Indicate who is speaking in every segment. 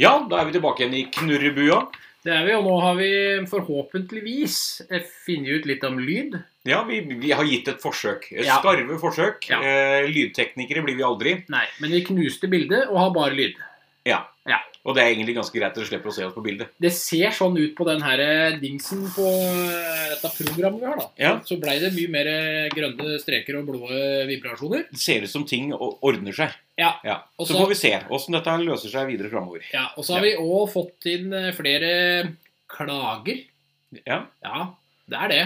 Speaker 1: Ja, da er vi tilbake igjen i knurrebua.
Speaker 2: Det er vi, og nå har vi forhåpentligvis eh, funnet ut litt om lyd.
Speaker 1: Ja, vi, vi har gitt et forsøk. Et
Speaker 2: Ja.
Speaker 1: Skarve forsøk.
Speaker 2: Ja.
Speaker 1: Eh, lydteknikere blir vi aldri.
Speaker 2: Nei, men vi knuste bildet og har bare lyd.
Speaker 1: Ja.
Speaker 2: Ja.
Speaker 1: Og det er egentlig ganske greit at du slipper å se oss på bildet.
Speaker 2: Det ser sånn ut på den her dingsen på eh, dette programmet vi har, da.
Speaker 1: Ja.
Speaker 2: Så blei det mye mer eh, grønne streker og blå eh, vibrasjoner.
Speaker 1: Det ser ut som ting o- ordner seg.
Speaker 2: Ja. Og
Speaker 1: Så
Speaker 2: så-
Speaker 1: får vi se åssen dette løser seg videre framover.
Speaker 2: Ja, og så har vi òg fått inn eh, flere klager.
Speaker 1: Ja.
Speaker 2: Ja, det er det.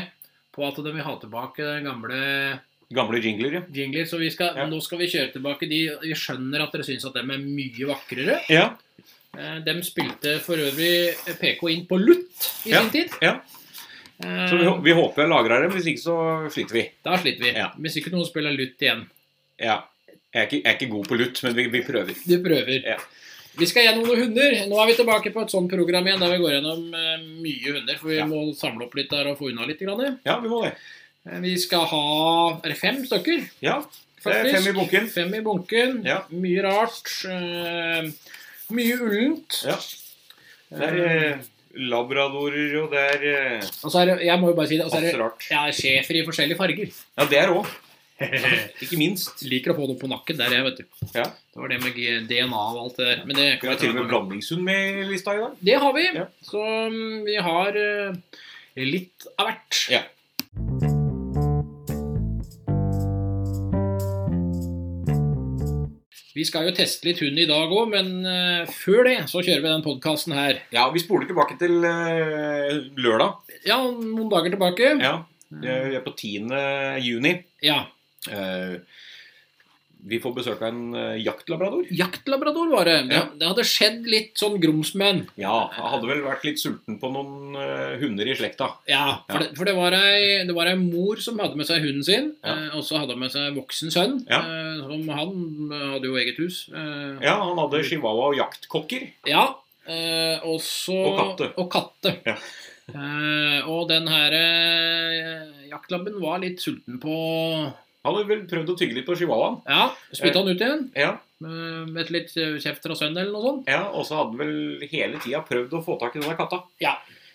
Speaker 2: På at de vil ha tilbake den gamle
Speaker 1: Gamle jingler, ja.
Speaker 2: jingler. Så vi skal,
Speaker 1: Ja.
Speaker 2: nå skal vi kjøre tilbake de. Vi skjønner at dere syns at dem er mye vakrere.
Speaker 1: ja.
Speaker 2: Eh, Dem spilte for øvrig PK inn på lutt i
Speaker 1: Ja,
Speaker 2: sin tid.
Speaker 1: ja.
Speaker 2: Eh,
Speaker 1: Så vi, hå- vi håper jeg lagrer dem, hvis ikke så flytter vi.
Speaker 2: Da sliter vi.
Speaker 1: Ja.
Speaker 2: Hvis ikke noen spiller lutt igjen.
Speaker 1: Ja. Jeg er ikke, jeg er ikke god på lutt, men vi, vi prøver.
Speaker 2: Du prøver.
Speaker 1: Ja.
Speaker 2: Vi skal gjennom noen hunder. Nå er vi tilbake på et sånt program igjen der vi går gjennom eh, mye hunder. For vi
Speaker 1: Ja.
Speaker 2: må samle opp litt der og få unna litt. Grann.
Speaker 1: Ja, vi må det.
Speaker 2: Eh, Vi skal ha er det fem stykker,
Speaker 1: Ja, det er
Speaker 2: faktisk.
Speaker 1: fem i bunken.
Speaker 2: Fem i bunken.
Speaker 1: Ja.
Speaker 2: Mye rart. eh, mye ullent.
Speaker 1: Ja. Det er eh, labradorer, og det er eh,
Speaker 2: Og så er det, jeg må jo bare si det, og så er
Speaker 1: masse
Speaker 2: det
Speaker 1: rart.
Speaker 2: ja, schæfer i forskjellige farger.
Speaker 1: Ja, det er òg. Ikke minst.
Speaker 2: Liker å få noe på nakken der, jeg, vet du.
Speaker 1: Ja.
Speaker 2: Det var det med G- DNA og alt det der. Men det,
Speaker 1: Vi har til og med blandingshund med i lista i dag.
Speaker 2: det har vi.
Speaker 1: Ja.
Speaker 2: Så mm, vi har eh, litt av hvert.
Speaker 1: Ja.
Speaker 2: Vi skal jo teste litt hund i dag òg, men eh, før det så kjører vi den podkasten her.
Speaker 1: Ja, Vi spoler tilbake til eh, lørdag.
Speaker 2: Ja, noen dager tilbake.
Speaker 1: Ja, Vi er på 10. juni.
Speaker 2: ja.
Speaker 1: Eh, vi får besøk av en eh, jaktlabrador.
Speaker 2: Jaktlabrador var det. Det,
Speaker 1: Ja.
Speaker 2: det hadde skjedd litt sånn grumsmenn.
Speaker 1: Ja, han hadde vel vært litt sulten på noen eh, hunder i slekta.
Speaker 2: Ja, for,
Speaker 1: Ja.
Speaker 2: Det, for det, var ei, det var ei mor som hadde med seg hunden sin,
Speaker 1: Ja.
Speaker 2: eh, og så hadde hun med seg voksen sønn.
Speaker 1: Ja.
Speaker 2: Eh, som han eh, hadde jo eget hus. Eh,
Speaker 1: Ja, han hadde chihuahua og jaktkokker.
Speaker 2: Ja, eh, og så
Speaker 1: Og katte.
Speaker 2: Og katte.
Speaker 1: Ja.
Speaker 2: Eh, og den her eh, jaktlabben var litt sulten på
Speaker 1: Han hadde vel prøvd å tygge litt på chihuahuaen.
Speaker 2: Ja, spytta han ut igjen
Speaker 1: Ja,
Speaker 2: eh, med et litt eh, kjeft fra sønnen eller noe sånt.
Speaker 1: ja Og så hadde han vel hele tida prøvd å få tak i denne katta.
Speaker 2: Ja.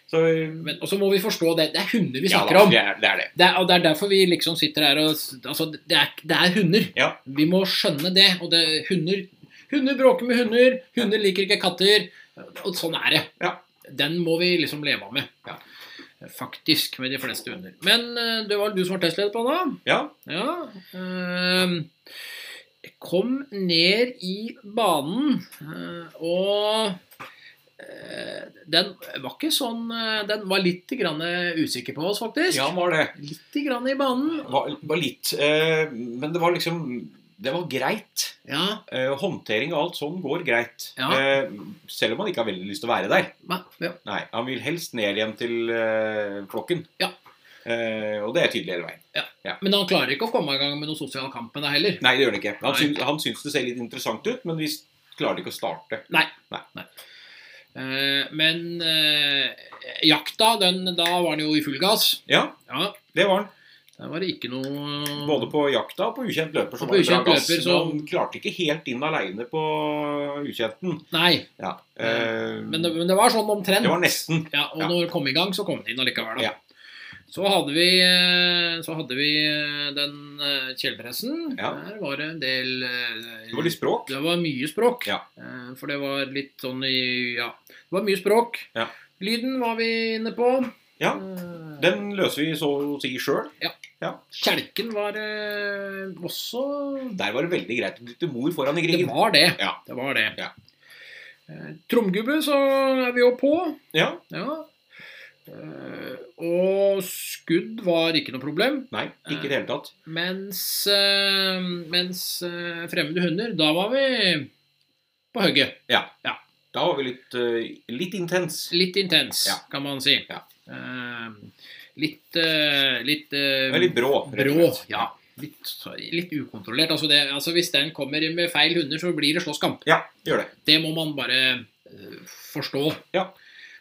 Speaker 1: Så
Speaker 2: Men, og så må vi forstå det. Det er hunder vi
Speaker 1: ja,
Speaker 2: snakker
Speaker 1: da,
Speaker 2: om.
Speaker 1: det, er, det er det.
Speaker 2: Det er, og det er derfor vi liksom sitter her og Altså, det er, det er hunder.
Speaker 1: Ja.
Speaker 2: Vi må skjønne det. Og det hunder Hunder bråker med hunder. Hunder liker ikke katter. Og sånn er det.
Speaker 1: Ja.
Speaker 2: Den må vi liksom leve av med.
Speaker 1: Ja.
Speaker 2: Faktisk med de fleste hunder. Men eh, det var du som var testleder på den,
Speaker 1: Ja,
Speaker 2: da? Ja. ehm, kom ned i banen, eh, og eh, den var ikke sånn eh, Den var litt grann eh, usikker på oss, faktisk.
Speaker 1: ja han var det.
Speaker 2: Litt grann i banen.
Speaker 1: Var, var litt eh, Men det var liksom Det var greit.
Speaker 2: Ja,
Speaker 1: Eh, håndtering og alt sånn går greit.
Speaker 2: Ja.
Speaker 1: Eh, selv om han ikke har veldig lyst til å være der.
Speaker 2: ma- ja.
Speaker 1: Nei, han vil helst ned igjen til eh, flokken.
Speaker 2: Ja.
Speaker 1: Eh, og det er tydelig hele veien.
Speaker 2: Men han klarer ikke å komme i gang med noen sosial kamp med deg heller.
Speaker 1: Nei, det gjør det ikke. Han
Speaker 2: Nei.
Speaker 1: syns, han syns det ser litt interessant ut, men vi s- klarer ikke å starte.
Speaker 2: Eh, men eh, jakta, den, da var den jo i full gass.
Speaker 1: Ja,
Speaker 2: Ja,
Speaker 1: det var han.
Speaker 2: der var det ikke noe
Speaker 1: Både på jakta og på ukjent løper. så
Speaker 2: Mm. Og på
Speaker 1: var det bra
Speaker 2: ukjent
Speaker 1: gass,
Speaker 2: løper,
Speaker 1: men
Speaker 2: så-
Speaker 1: Han klarte ikke helt inn aleine på ukjenten.
Speaker 2: Nei,
Speaker 1: Ja. eh,
Speaker 2: men det, men det var sånn omtrent.
Speaker 1: det var nesten.
Speaker 2: Ja, og
Speaker 1: Ja.
Speaker 2: når det kom i gang, så kom den inn allikevel. Da.
Speaker 1: Ja.
Speaker 2: Så hadde vi, eh, så hadde vi eh, den eh, kjeledressen.
Speaker 1: Ja.
Speaker 2: Der var det en del eh,
Speaker 1: Det var litt språk.
Speaker 2: Det var mye språk.
Speaker 1: Ja.
Speaker 2: Eh, For det var litt sånn i Ja. Det var mye språk.
Speaker 1: Ja.
Speaker 2: Lyden var vi inne på.
Speaker 1: Ja.
Speaker 2: Eh,
Speaker 1: Den løser vi så å si sjøl.
Speaker 2: Kjelken var eh, også
Speaker 1: Der var det veldig greit å dytte mor foran i
Speaker 2: Det
Speaker 1: krigen.
Speaker 2: var det.
Speaker 1: Ja.
Speaker 2: Det var det.
Speaker 1: Ja.
Speaker 2: Eh, Tromgubbe, så er vi jo på.
Speaker 1: Ja,
Speaker 2: Ja. Eh, Og skudd var ikke noe problem.
Speaker 1: Nei, ikke i det hele tatt.
Speaker 2: Mens, eh, mens eh, fremmede hunder, da var vi på hugget.
Speaker 1: Da var vi litt, eh, litt intens.
Speaker 2: Litt intens,
Speaker 1: Ja.
Speaker 2: kan man si.
Speaker 1: Ja.
Speaker 2: Eh, litt eh, litt, eh,
Speaker 1: Det var litt brå. rett og
Speaker 2: brå.
Speaker 1: slett.
Speaker 2: Ja. Litt, litt ukontrollert. Altså, det, altså Hvis den kommer med feil hunder, så blir det slåsskamp.
Speaker 1: Ja, gjør det.
Speaker 2: Det må man bare eh, forstå.
Speaker 1: Ja.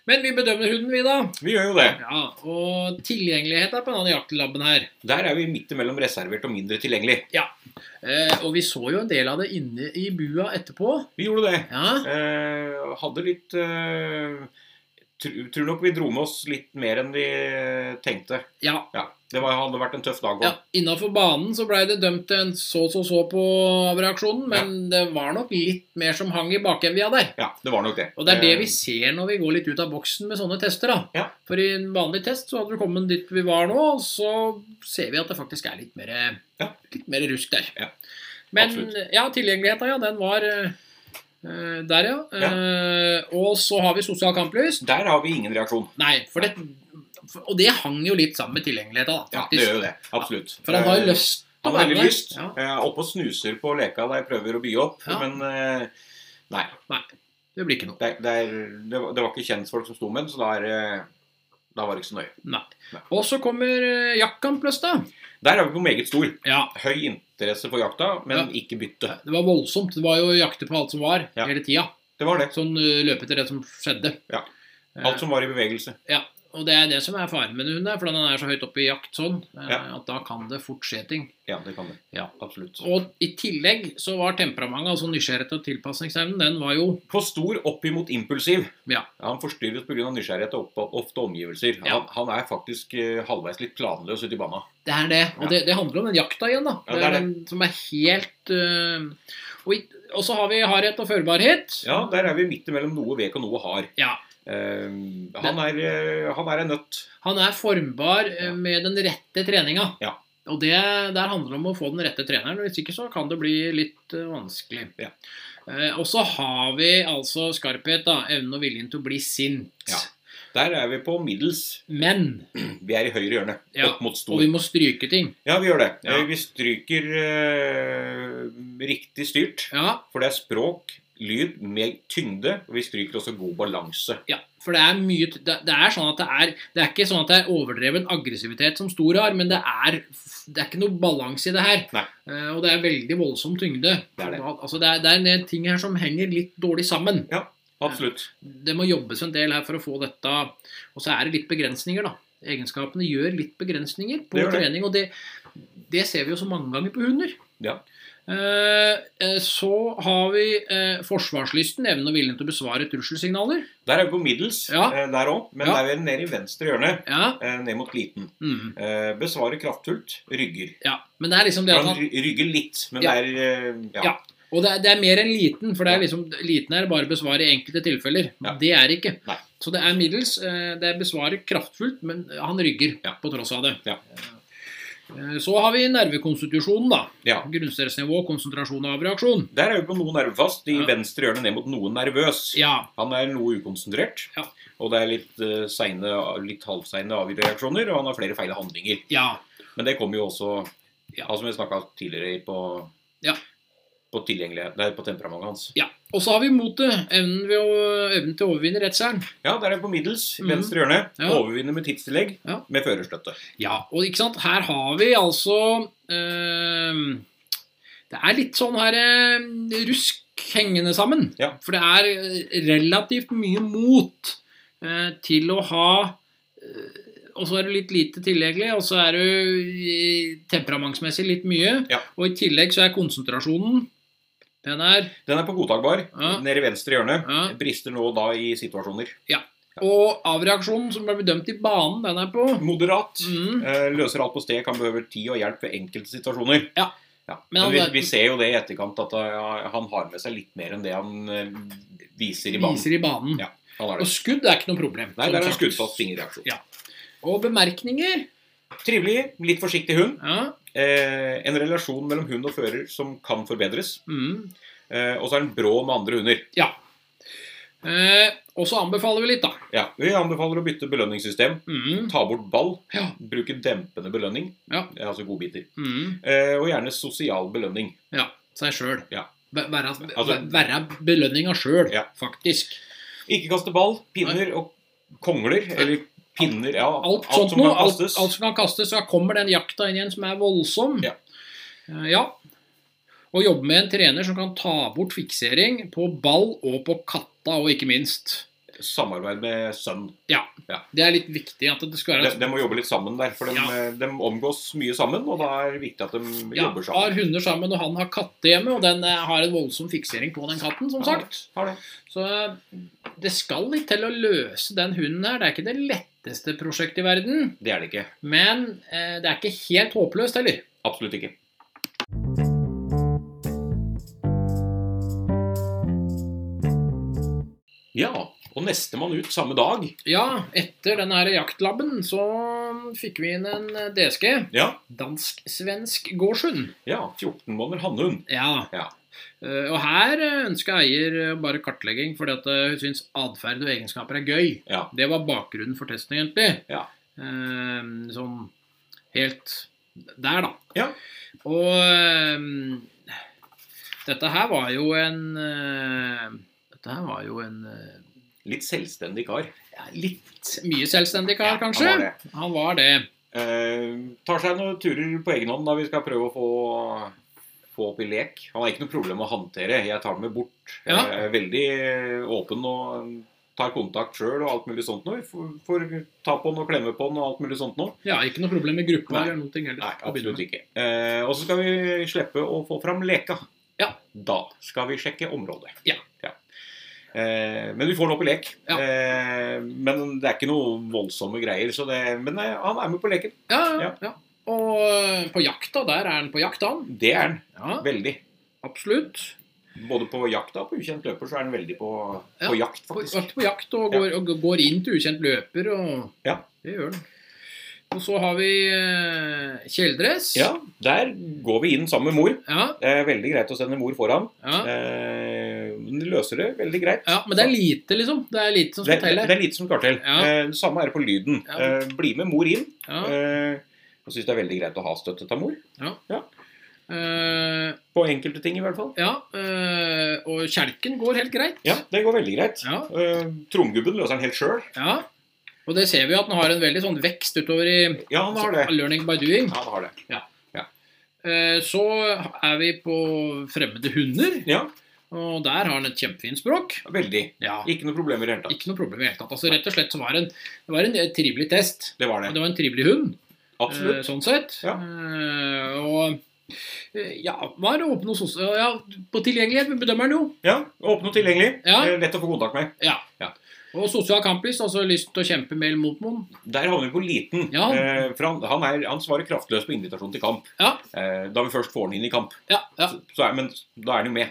Speaker 2: Men vi bedømmer hunden, vi, da.
Speaker 1: Vi gjør jo det.
Speaker 2: Ja, Og tilgjengelighet er på denne jaktlaben her.
Speaker 1: Der er vi midt imellom reservert og mindre tilgjengelig.
Speaker 2: Eh, og vi så jo en del av det inne i bua etterpå.
Speaker 1: Vi gjorde det.
Speaker 2: Ja,
Speaker 1: Eh, hadde litt eh, tr Tror nok vi dro med oss litt mer enn vi eh, tenkte.
Speaker 2: ja.
Speaker 1: Ja, Det var, hadde vært en tøff dag òg.
Speaker 2: ja. Innafor banen så blei det dømt en så så så på reaksjonen, men det var nok litt mer som hang i bakevja der.
Speaker 1: Ja, det var nok det.
Speaker 2: Og det er det vi
Speaker 1: Eh,
Speaker 2: ser når vi går litt ut av boksen med sånne tester. da.
Speaker 1: Ja.
Speaker 2: For i en vanlig test så hadde vi kommet dit vi var nå, og så ser vi at det faktisk er litt mer,
Speaker 1: Ja.
Speaker 2: litt mer rusk der.
Speaker 1: Ja.
Speaker 2: Men
Speaker 1: Absolutt.
Speaker 2: ja, tilgjengeligheta, ja, den var eh, eh, der, ja.
Speaker 1: Ja.
Speaker 2: Eh, og så har vi sosial kamplyst.
Speaker 1: Eh, Der har vi ingen reaksjon.
Speaker 2: Nei, for det for- Og det hang jo litt sammen med tilgjengeligheta, da,
Speaker 1: Ja, det
Speaker 2: faktisk.
Speaker 1: gjør jo det. Absolutt.
Speaker 2: for han har
Speaker 1: Eh,
Speaker 2: jo lyst til
Speaker 1: Han
Speaker 2: å
Speaker 1: har
Speaker 2: være
Speaker 1: veldig
Speaker 2: med.
Speaker 1: lyst.
Speaker 2: Ja.
Speaker 1: Eh, oppe og snuser på leka da jeg prøver å by opp,
Speaker 2: Ja.
Speaker 1: men eh, nei.
Speaker 2: Det blir ikke noe.
Speaker 1: Det, det, er, det, var, det var ikke kjentfolk som sto med den, så da, er, eh, da var det ikke så nøye.
Speaker 2: Nei.
Speaker 1: Nei.
Speaker 2: Og så kommer eh, jaktkamplyst, da.
Speaker 1: Der er vi på meget stor.
Speaker 2: Ja.
Speaker 1: Høy interesse for jakta, men
Speaker 2: Ja.
Speaker 1: ikke bytte.
Speaker 2: Det var voldsomt. Det var jo jakter på alt som var,
Speaker 1: Ja.
Speaker 2: hele tida.
Speaker 1: Det var det.
Speaker 2: Sånn ø, løp etter det som skjedde.
Speaker 1: Ja.
Speaker 2: Eh,
Speaker 1: Alt som var i bevegelse.
Speaker 2: og det er det som er faren med hunden, der, for den er så høyt oppe i jakt sånn, eh,
Speaker 1: Ja.
Speaker 2: at da kan det fort skje ting.
Speaker 1: Ja, det kan det.
Speaker 2: Ja.
Speaker 1: Absolutt.
Speaker 2: Og i tillegg så var temperamentet, altså nysgjerrighet og tilpasningsevnen, den var jo
Speaker 1: For stor opp imot impulsiv.
Speaker 2: Ja.
Speaker 1: Han forstyrres pga. nysgjerrighet og opp- ofte omgivelser.
Speaker 2: Ja.
Speaker 1: Han, han er faktisk eh, halvveis litt planløs ute i banen.
Speaker 2: Det er det. Og
Speaker 1: Ja.
Speaker 2: det, det handler om den jakta igjen, da.
Speaker 1: Ja, det er det.
Speaker 2: Den som er helt ø, og, i, og så har vi hardhet og førbarhet.
Speaker 1: Ja, der er vi midt imellom noe vek og noe hard.
Speaker 2: Ja.
Speaker 1: Eh, han, er, eh, han er en nøtt.
Speaker 2: Han er formbar ø,
Speaker 1: Ja.
Speaker 2: med den rette treninga.
Speaker 1: Ja.
Speaker 2: Og det, der handler det om å få den rette treneren. og Hvis ikke så kan det bli litt ø, vanskelig.
Speaker 1: Ja.
Speaker 2: Eh, og så har vi altså skarphet, da. Evnen og viljen til å bli sint.
Speaker 1: Ja. Der er vi på middels.
Speaker 2: Men
Speaker 1: Vi er i høyre hjørne.
Speaker 2: Ja,
Speaker 1: Opp mot
Speaker 2: Og
Speaker 1: stor.
Speaker 2: vi må stryke ting.
Speaker 1: Ja, vi gjør det.
Speaker 2: Ja.
Speaker 1: Eh, Vi stryker eh, riktig styrt.
Speaker 2: Ja,
Speaker 1: For det er språk, lyd med tyngde. Og vi stryker også god balanse.
Speaker 2: ja. For det er mye t- Det, det er sånn at det er Det er ikke sånn at det er overdreven aggressivitet som stor har, men det er Det er ikke noe balanse i det her.
Speaker 1: Nei.
Speaker 2: Eh, og det er veldig voldsom tyngde.
Speaker 1: Det er det.
Speaker 2: Altså, det, er, det er en del ting her som henger litt dårlig sammen.
Speaker 1: Absolutt.
Speaker 2: Det må jobbes en del her for å få dette Og så er det litt begrensninger, da. Egenskapene gjør litt begrensninger på
Speaker 1: Det gjør det.
Speaker 2: trening, og det, det ser vi jo så mange ganger på hunder.
Speaker 1: Ja.
Speaker 2: Eh, eh, så har vi eh, forsvarslysten, evnen og viljen til å besvare trusselsignaler.
Speaker 1: Der er vi på middels.
Speaker 2: Ja.
Speaker 1: eh, Der òg. Men
Speaker 2: Ja.
Speaker 1: der er vi nede i venstre hjørne.
Speaker 2: Ja.
Speaker 1: eh, Ned mot liten.
Speaker 2: mhm,
Speaker 1: Eh, Besvare kraftfullt. Rygger.
Speaker 2: ja. Men det er liksom det at
Speaker 1: Han
Speaker 2: han
Speaker 1: ry- rygger litt, men
Speaker 2: Ja.
Speaker 1: det er eh, ja.
Speaker 2: Ja. Og det er, det er mer enn liten, for det er liksom liten er bare å besvare i enkelte tilfeller.
Speaker 1: Ja.
Speaker 2: Det er ikke.
Speaker 1: Nei.
Speaker 2: Så det er middels. eh, Det er besvarer kraftfullt, men han rygger
Speaker 1: Ja.
Speaker 2: på tross av det.
Speaker 1: Ja.
Speaker 2: Eh, Så har vi nervekonstitusjonen, da.
Speaker 1: ja.
Speaker 2: Grunnstedsnivå, konsentrasjon og avreaksjon.
Speaker 1: Der er vi på noe nervefast. I
Speaker 2: Ja.
Speaker 1: venstre hjørne ned mot noe nervøs.
Speaker 2: Ja.
Speaker 1: Han er noe ukonsentrert,
Speaker 2: Ja.
Speaker 1: og det er litt, eh, seine, litt halvseine avreaksjoner, og han har flere feil handlinger.
Speaker 2: Ja.
Speaker 1: Men det kommer jo også
Speaker 2: Ja.
Speaker 1: altså, som vi snakka tidligere i på,
Speaker 2: Ja.
Speaker 1: på tilgjengelighet Nei, på temperamentet hans.
Speaker 2: ja. Og så har vi motet. Evnen, ved å- evnen til å overvinne redselen.
Speaker 1: Ja, der er vi på middels, i
Speaker 2: Mhm.
Speaker 1: venstre hjørne.
Speaker 2: Ja.
Speaker 1: Overvinner med tidstillegg,
Speaker 2: Ja.
Speaker 1: med førerstøtte.
Speaker 2: Ja, og ikke sant, her har vi altså ehm, Det er litt sånn her ehm, rusk hengende sammen.
Speaker 1: Ja.
Speaker 2: For det er eh, relativt mye mot eh, til å ha eh, Og så er du litt lite tilgjengelig, og så er du eh, temperamentsmessig litt mye.
Speaker 1: Ja.
Speaker 2: Og i tillegg så er konsentrasjonen Den er
Speaker 1: Den er på godtakbar,
Speaker 2: Ja.
Speaker 1: nede i venstre hjørne.
Speaker 2: Ja.
Speaker 1: Brister nå da i situasjoner.
Speaker 2: Og avreaksjonen som ble bedømt i banen, den er på
Speaker 1: Moderat.
Speaker 2: mm,
Speaker 1: Eh, Løser alt på sted, kan behøve tid og hjelp ved enkelte situasjoner.
Speaker 2: Ja. Men
Speaker 1: Men,
Speaker 2: han
Speaker 1: vi,
Speaker 2: er-
Speaker 1: vi ser jo det i etterkant, at eh, han har med seg litt mer enn det han eh, viser i banen.
Speaker 2: Viser i banen.
Speaker 1: Ja. Han har
Speaker 2: Og
Speaker 1: det.
Speaker 2: skudd er ikke noe problem.
Speaker 1: Nei,
Speaker 2: som
Speaker 1: der er
Speaker 2: sagt.
Speaker 1: skuddfast fingerreaksjon.
Speaker 2: Ja. Og bemerkninger.
Speaker 1: Trivelig, litt forsiktig hund.
Speaker 2: Ja.
Speaker 1: Eh, en relasjon mellom hund og fører som kan forbedres.
Speaker 2: Mm.
Speaker 1: Eh, og så er den brå med andre hunder.
Speaker 2: Eh, og så anbefaler vi litt, da.
Speaker 1: Ja, Vi anbefaler å bytte belønningssystem.
Speaker 2: Mm.
Speaker 1: Ta bort ball.
Speaker 2: Ja.
Speaker 1: Bruke dempende belønning,
Speaker 2: Ja.
Speaker 1: eh, altså godbiter.
Speaker 2: Mm.
Speaker 1: Eh, og gjerne sosial belønning.
Speaker 2: ja. Seg sjøl.
Speaker 1: Ja.
Speaker 2: Være
Speaker 1: Altså-
Speaker 2: altså, belønninga sjøl,
Speaker 1: Ja.
Speaker 2: faktisk.
Speaker 1: Ikke kaste ball, pinner og kongler. Eller pinner Ja,
Speaker 2: Alt, sånt
Speaker 1: som
Speaker 2: noe.
Speaker 1: kan
Speaker 2: Alt,
Speaker 1: kastes.
Speaker 2: alt som kan kastes. Da kommer den jakta inn igjen som er voldsom.
Speaker 1: Ja.
Speaker 2: Eh, ja. Og jobbe med en trener som kan ta bort fiksering på ball og på katta, og ikke minst.
Speaker 1: samarbeid med Sønn.
Speaker 2: Det er litt viktig at det skal
Speaker 1: De,
Speaker 2: være
Speaker 1: de må jobbe litt sammen der, for de,
Speaker 2: Ja.
Speaker 1: eh, de omgås mye sammen. Og da er det viktig at de
Speaker 2: ja,
Speaker 1: jobber
Speaker 2: har
Speaker 1: sammen.
Speaker 2: hunder sammen, og han har katte hjemme, og den eh, har en voldsom fiksering på den katten, som
Speaker 1: Ja,
Speaker 2: sagt.
Speaker 1: har det.
Speaker 2: Så eh, det skal litt til å løse den hunden her. Det er ikke det letteste prosjektet i verden,
Speaker 1: Det er det ikke.
Speaker 2: men eh, det er ikke helt håpløst heller.
Speaker 1: Absolutt ikke. Ja, og nestemann ut samme dag.
Speaker 2: Ja, etter den her jaktlabben så fikk vi inn en eh, DSG.
Speaker 1: Ja,
Speaker 2: Dansk-svensk gårdshund.
Speaker 1: ja 14 måneder hannhund.
Speaker 2: Ja.
Speaker 1: Ja.
Speaker 2: Eh, Og her eh, ønsker eier eh, bare kartlegging fordi at eh, hun syns atferd og egenskaper er gøy.
Speaker 1: Ja.
Speaker 2: Det var bakgrunnen for testen, egentlig.
Speaker 1: Ja.
Speaker 2: Eh, Sånn helt der, da.
Speaker 1: Ja.
Speaker 2: Og eh, dette her var jo en eh, Dette her var jo en eh,
Speaker 1: Litt selvstendig kar.
Speaker 2: ja, litt mye selvstendig
Speaker 1: Ja,
Speaker 2: kar,
Speaker 1: han
Speaker 2: kanskje.
Speaker 1: var det.
Speaker 2: Han var det.
Speaker 1: Eh, tar seg noen turer på egen hånd da vi skal prøve å få, få opp i lek. Han har ikke noe problem med å håndtere. Jeg tar dem med bort. Jeg
Speaker 2: Ja.
Speaker 1: er veldig åpen og tar kontakt sjøl og alt mulig sånt noe. Får, får ta på han og klemme på han og alt mulig sånt noe.
Speaker 2: Ja, ikke noe problem med gruppa
Speaker 1: Nei.
Speaker 2: eller noen ting heller.
Speaker 1: Nei, absolutt ikke. Eh, og så skal vi slippe å få fram leka.
Speaker 2: Ja.
Speaker 1: Da skal vi sjekke området.
Speaker 2: Ja.
Speaker 1: Eh, men vi får den opp i lek.
Speaker 2: Ja.
Speaker 1: Eh, men det er ikke noe voldsomme greier. Så det, men eh, han er med på leken.
Speaker 2: Ja, ja,
Speaker 1: Ja.
Speaker 2: ja. Og eh, på jakta, der er han på jakt, han.
Speaker 1: Det er han.
Speaker 2: Ja,
Speaker 1: Veldig.
Speaker 2: absolutt.
Speaker 1: Både på jakta og på ukjent løper så er han veldig på,
Speaker 2: Ja.
Speaker 1: på jakt,
Speaker 2: På,
Speaker 1: faktisk.
Speaker 2: på jakt og går, og går inn til ukjent løper og
Speaker 1: Ja.
Speaker 2: Det gjør han. Og så har vi eh, kjeledress.
Speaker 1: Ja, der går vi inn sammen med mor.
Speaker 2: Ja,
Speaker 1: Det er veldig greit å sende mor foran.
Speaker 2: ja.
Speaker 1: Eh, men de løser det veldig greit.
Speaker 2: Ja, men det er lite, liksom. Det er lite som
Speaker 1: Det,
Speaker 2: skal
Speaker 1: det,
Speaker 2: til
Speaker 1: det
Speaker 2: her.
Speaker 1: er lite som skal til.
Speaker 2: Ja.
Speaker 1: Eh, det samme er det på lyden.
Speaker 2: Ja.
Speaker 1: Eh, bli med mor inn.
Speaker 2: Ja.
Speaker 1: Eh, jeg syns det er veldig greit å ha støtte av mor.
Speaker 2: Eh,
Speaker 1: På enkelte ting, i hvert fall.
Speaker 2: ja eh, og kjelken går helt greit.
Speaker 1: Ja, det går veldig greit.
Speaker 2: Ja,
Speaker 1: Eh, Tromgubben løser den helt sjøl.
Speaker 2: ja. Og det ser vi jo at den har en veldig sånn vekst utover i
Speaker 1: Ja, han har det.
Speaker 2: learning by doing.
Speaker 1: Ja, han har det.
Speaker 2: Eh, Så er vi på fremmede hunder,
Speaker 1: Ja,
Speaker 2: og der har han et kjempefint språk.
Speaker 1: veldig.
Speaker 2: Ja,
Speaker 1: Ikke noe problem i det hele tatt.
Speaker 2: Ikke noe problem i det hele tatt. Altså, rett og slett så var det en, det var en eh, trivelig test.
Speaker 1: Det var det.
Speaker 2: Og det var en trivelig hund, eh,
Speaker 1: Absolutt.
Speaker 2: sånn sett.
Speaker 1: Ja.
Speaker 2: Eh, Og eh, ja, var åpen hos oss. Ja, på tilgjengelighet bedømmer han jo.
Speaker 1: Ja, Åpen og tilgjengelig.
Speaker 2: Ja.
Speaker 1: Eh, Lett å få kontakt med.
Speaker 2: Og sosial kamplyst, altså lyst til å kjempe med eller mot noen.
Speaker 1: Der havner vi på liten.
Speaker 2: Ja.
Speaker 1: Eh, For han, han, er, han svarer kraftløst på invitasjon til kamp.
Speaker 2: Ah. Ja.
Speaker 1: Eh, Da vi først får han inn i kamp.
Speaker 2: Ja, ja.
Speaker 1: Så, så er, men da er han jo med.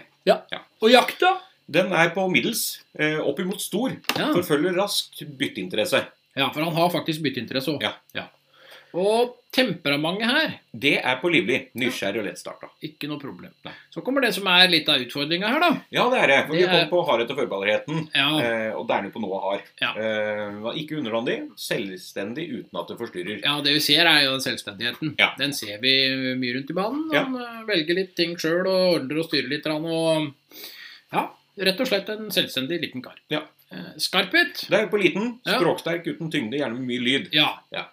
Speaker 2: Og jakta.
Speaker 1: Den er på middels. eh, Opp imot stor.
Speaker 2: Ja.
Speaker 1: Forfølger raskt bytteinteresse.
Speaker 2: ja, for han har faktisk bytteinteresse òg.
Speaker 1: Ja.
Speaker 2: Og temperamentet her
Speaker 1: Det er på livlig. Nysgjerrig og lettstarta.
Speaker 2: ikke noe problem. Så kommer det som er litt av utfordringa her, da.
Speaker 1: Ja, det er det. For
Speaker 2: Det
Speaker 1: vi kom
Speaker 2: er-
Speaker 1: på hardhet og forberedeligheten.
Speaker 2: Ja,
Speaker 1: eh, Og det er det på noe hard.
Speaker 2: Ja.
Speaker 1: Eh, var Ikke underlandig, selvstendig uten at det forstyrrer.
Speaker 2: Ja, det vi ser er jo den selvstendigheten.
Speaker 1: Ja.
Speaker 2: Den ser vi mye rundt i banen.
Speaker 1: Ja.
Speaker 2: Han eh, velger litt ting sjøl og ordner og styrer litt. grann, Og ja, rett og slett en selvstendig liten kar.
Speaker 1: Ja.
Speaker 2: Eh, Skarphet.
Speaker 1: Det er på liten.
Speaker 2: Ja.
Speaker 1: Språksterk uten tyngde, gjerne med mye lyd.
Speaker 2: Ja.
Speaker 1: Ja.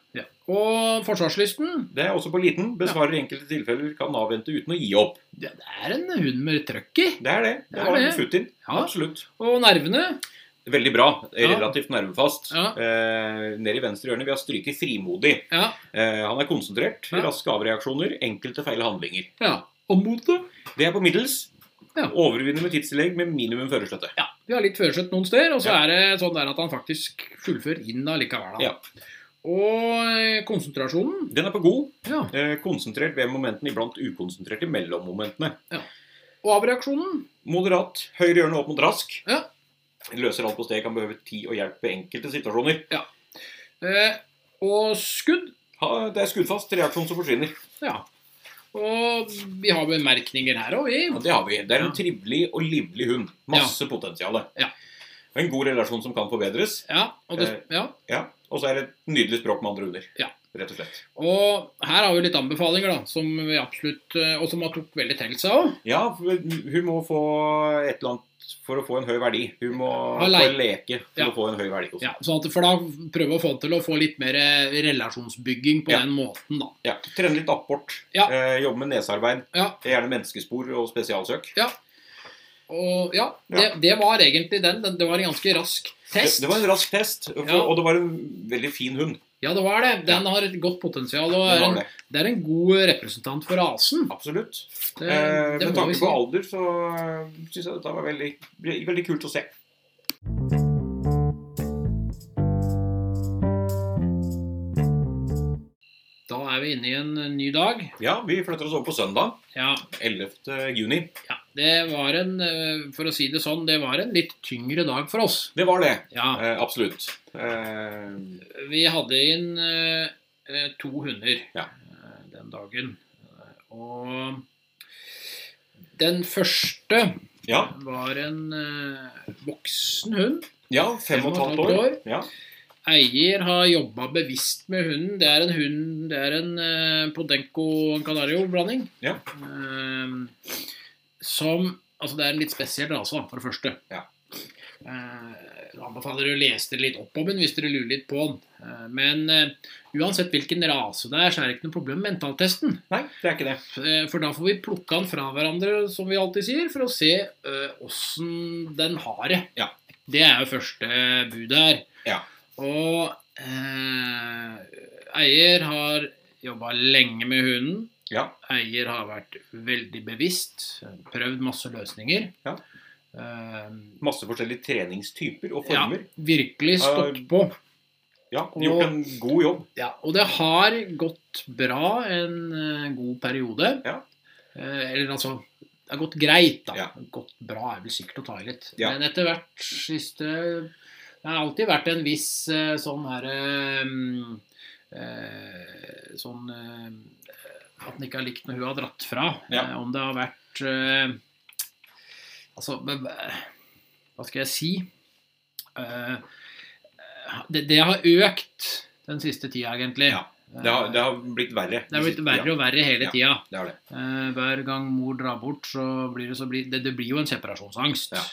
Speaker 2: Og forsvarslysten.
Speaker 1: Det er også på liten. Besvarer i enkelte tilfeller, kan avvente uten å gi opp.
Speaker 2: Det er en hund med trøkk i.
Speaker 1: Det er det. Det,
Speaker 2: Det er
Speaker 1: var en
Speaker 2: det.
Speaker 1: Futin.
Speaker 2: Ja.
Speaker 1: Absolutt.
Speaker 2: Og nervene.
Speaker 1: Veldig bra.
Speaker 2: Ja.
Speaker 1: Relativt nervefast.
Speaker 2: Ja.
Speaker 1: Eh, ned i venstre hjørne. Vi har stryket frimodig.
Speaker 2: Ja.
Speaker 1: Eh, han er konsentrert.
Speaker 2: Ja.
Speaker 1: Raske avreaksjoner. Enkelte feil handlinger.
Speaker 2: ja. Og motet.
Speaker 1: Det er på middels.
Speaker 2: Ja.
Speaker 1: Overvinner med tidstillegg med minimum førerstøtte.
Speaker 2: Ja. Vi har litt førerskjøtt noen steder, og så
Speaker 1: Ja.
Speaker 2: er det sånn der at han faktisk fullfører inn allikevel. da.
Speaker 1: Ja.
Speaker 2: Og eh, konsentrasjonen.
Speaker 1: Den er på god.
Speaker 2: Ja.
Speaker 1: Eh, konsentrert ved momentene, iblant ukonsentrert i mellommomentene.
Speaker 2: Og avreaksjonen.
Speaker 1: Moderat. Høyre hjørne opp mot rask.
Speaker 2: Ja.
Speaker 1: Løser alt på sted. Kan behøve tid og hjelp ved enkelte situasjoner.
Speaker 2: Eh, og skudd.
Speaker 1: Ha, det er skuddfast reaksjon som forsvinner.
Speaker 2: Ja. Og vi har bemerkninger her òg, vi.
Speaker 1: Ja, det har vi. Det er en
Speaker 2: Ja.
Speaker 1: trivelig og livlig hund. Masse potensial.
Speaker 2: Ja.
Speaker 1: Og En god relasjon som kan forbedres.
Speaker 2: Ja, og, det,
Speaker 1: Eh.
Speaker 2: ja.
Speaker 1: Ja. Og så er det et nydelig språk med andre hunder.
Speaker 2: Ja.
Speaker 1: Rett og slett.
Speaker 2: og her har vi litt anbefalinger, da, som vi absolutt eh, Og som har tok veldig til seg òg.
Speaker 1: Ja, for hun må få et eller annet for å få en høy verdi. Hun må
Speaker 2: Ha
Speaker 1: få
Speaker 2: lei-
Speaker 1: en leke for
Speaker 2: Ja.
Speaker 1: å få en høy verdi. Også.
Speaker 2: Ja, sånn at- for da prøve å få til å få litt mer eh, relasjonsbygging på
Speaker 1: Ja.
Speaker 2: den måten, da.
Speaker 1: Ja. Trene litt apport.
Speaker 2: Ja.
Speaker 1: Eh, jobbe med nesearbeid.
Speaker 2: Ja.
Speaker 1: Gjerne menneskespor og spesialsøk.
Speaker 2: Og ja, det, det var egentlig den. den. Det var en ganske rask
Speaker 1: Det,
Speaker 2: test.
Speaker 1: det var en rask test, og-
Speaker 2: Ja.
Speaker 1: og det var en veldig fin hund.
Speaker 2: Ja, det var det. Den har et godt potensial. Og
Speaker 1: Den
Speaker 2: er
Speaker 1: var
Speaker 2: en,
Speaker 1: det.
Speaker 2: det er en god representant for rasen.
Speaker 1: Absolutt.
Speaker 2: Det,
Speaker 1: Eh, med
Speaker 2: det må vi
Speaker 1: tanke
Speaker 2: si.
Speaker 1: på alder så syns jeg dette var veldig, veldig kult å se.
Speaker 2: Da er vi inne i en ny dag.
Speaker 1: Ja, vi flytter oss over på søndag.
Speaker 2: Ja,
Speaker 1: 11. juni.
Speaker 2: ja det var en eh, For å si det sånn, det var en litt tyngre dag for oss.
Speaker 1: Det var det.
Speaker 2: Ja.
Speaker 1: Eh, absolutt. Eh,
Speaker 2: Vi hadde inn eh, eh, to hunder
Speaker 1: Ja.
Speaker 2: eh, den dagen. Eh, Og den første
Speaker 1: ja.
Speaker 2: var en eh, voksen hund.
Speaker 1: ja. Fem og et halvt år. Ja.
Speaker 2: Eier har jobba bevisst med hunden. Det er en hund Det er en eh, Podenco Canario-blanding.
Speaker 1: Ja.
Speaker 2: Eh, som Altså, det er en litt spesiell rase, da, for det første.
Speaker 1: Ja.
Speaker 2: Eh, jeg anbefaler å lese dere litt opp om den hvis dere lurer litt på den. Eh, men eh, uansett hvilken rase det er, så er det ikke noe problem med mentaltesten.
Speaker 1: Nei, det er ikke det.
Speaker 2: Eh, For da får vi plukka den fra hverandre, som vi alltid sier, for å se eh, åssen den har det.
Speaker 1: Ja.
Speaker 2: Det er jo første bud her.
Speaker 1: Ja.
Speaker 2: Og eh, eier har jobba lenge med hunden.
Speaker 1: Ja.
Speaker 2: Eier har vært veldig bevisst, prøvd masse løsninger.
Speaker 1: Ja.
Speaker 2: Eh,
Speaker 1: Masse forskjellige treningstyper og
Speaker 2: ja,
Speaker 1: former.
Speaker 2: virkelig stått på.
Speaker 1: Ja, Gjort en god jobb.
Speaker 2: Ja, og det har gått bra en eh, god periode.
Speaker 1: Ja.
Speaker 2: Eh, eller altså Det har gått greit, da.
Speaker 1: Ja.
Speaker 2: Gått bra er vel sikkert å ta i litt.
Speaker 1: Ja.
Speaker 2: Men etter hvert siste Det har alltid vært en viss eh, sånn herre Sånn eh, At den ikke har likt når hun har dratt fra.
Speaker 1: Ja.
Speaker 2: Eh, om det har vært eh, Altså men, eh, Hva skal jeg si? Eh, det, det har økt den siste tida, egentlig. Eh,
Speaker 1: Ja. Det har, det har blitt verre.
Speaker 2: Det har blitt verre
Speaker 1: Ja,
Speaker 2: og verre hele
Speaker 1: Ja.
Speaker 2: tida.
Speaker 1: det har det.
Speaker 2: Eh, hver gang mor drar bort, så blir det, så blir, det, det blir jo en separasjonsangst.
Speaker 1: Ja.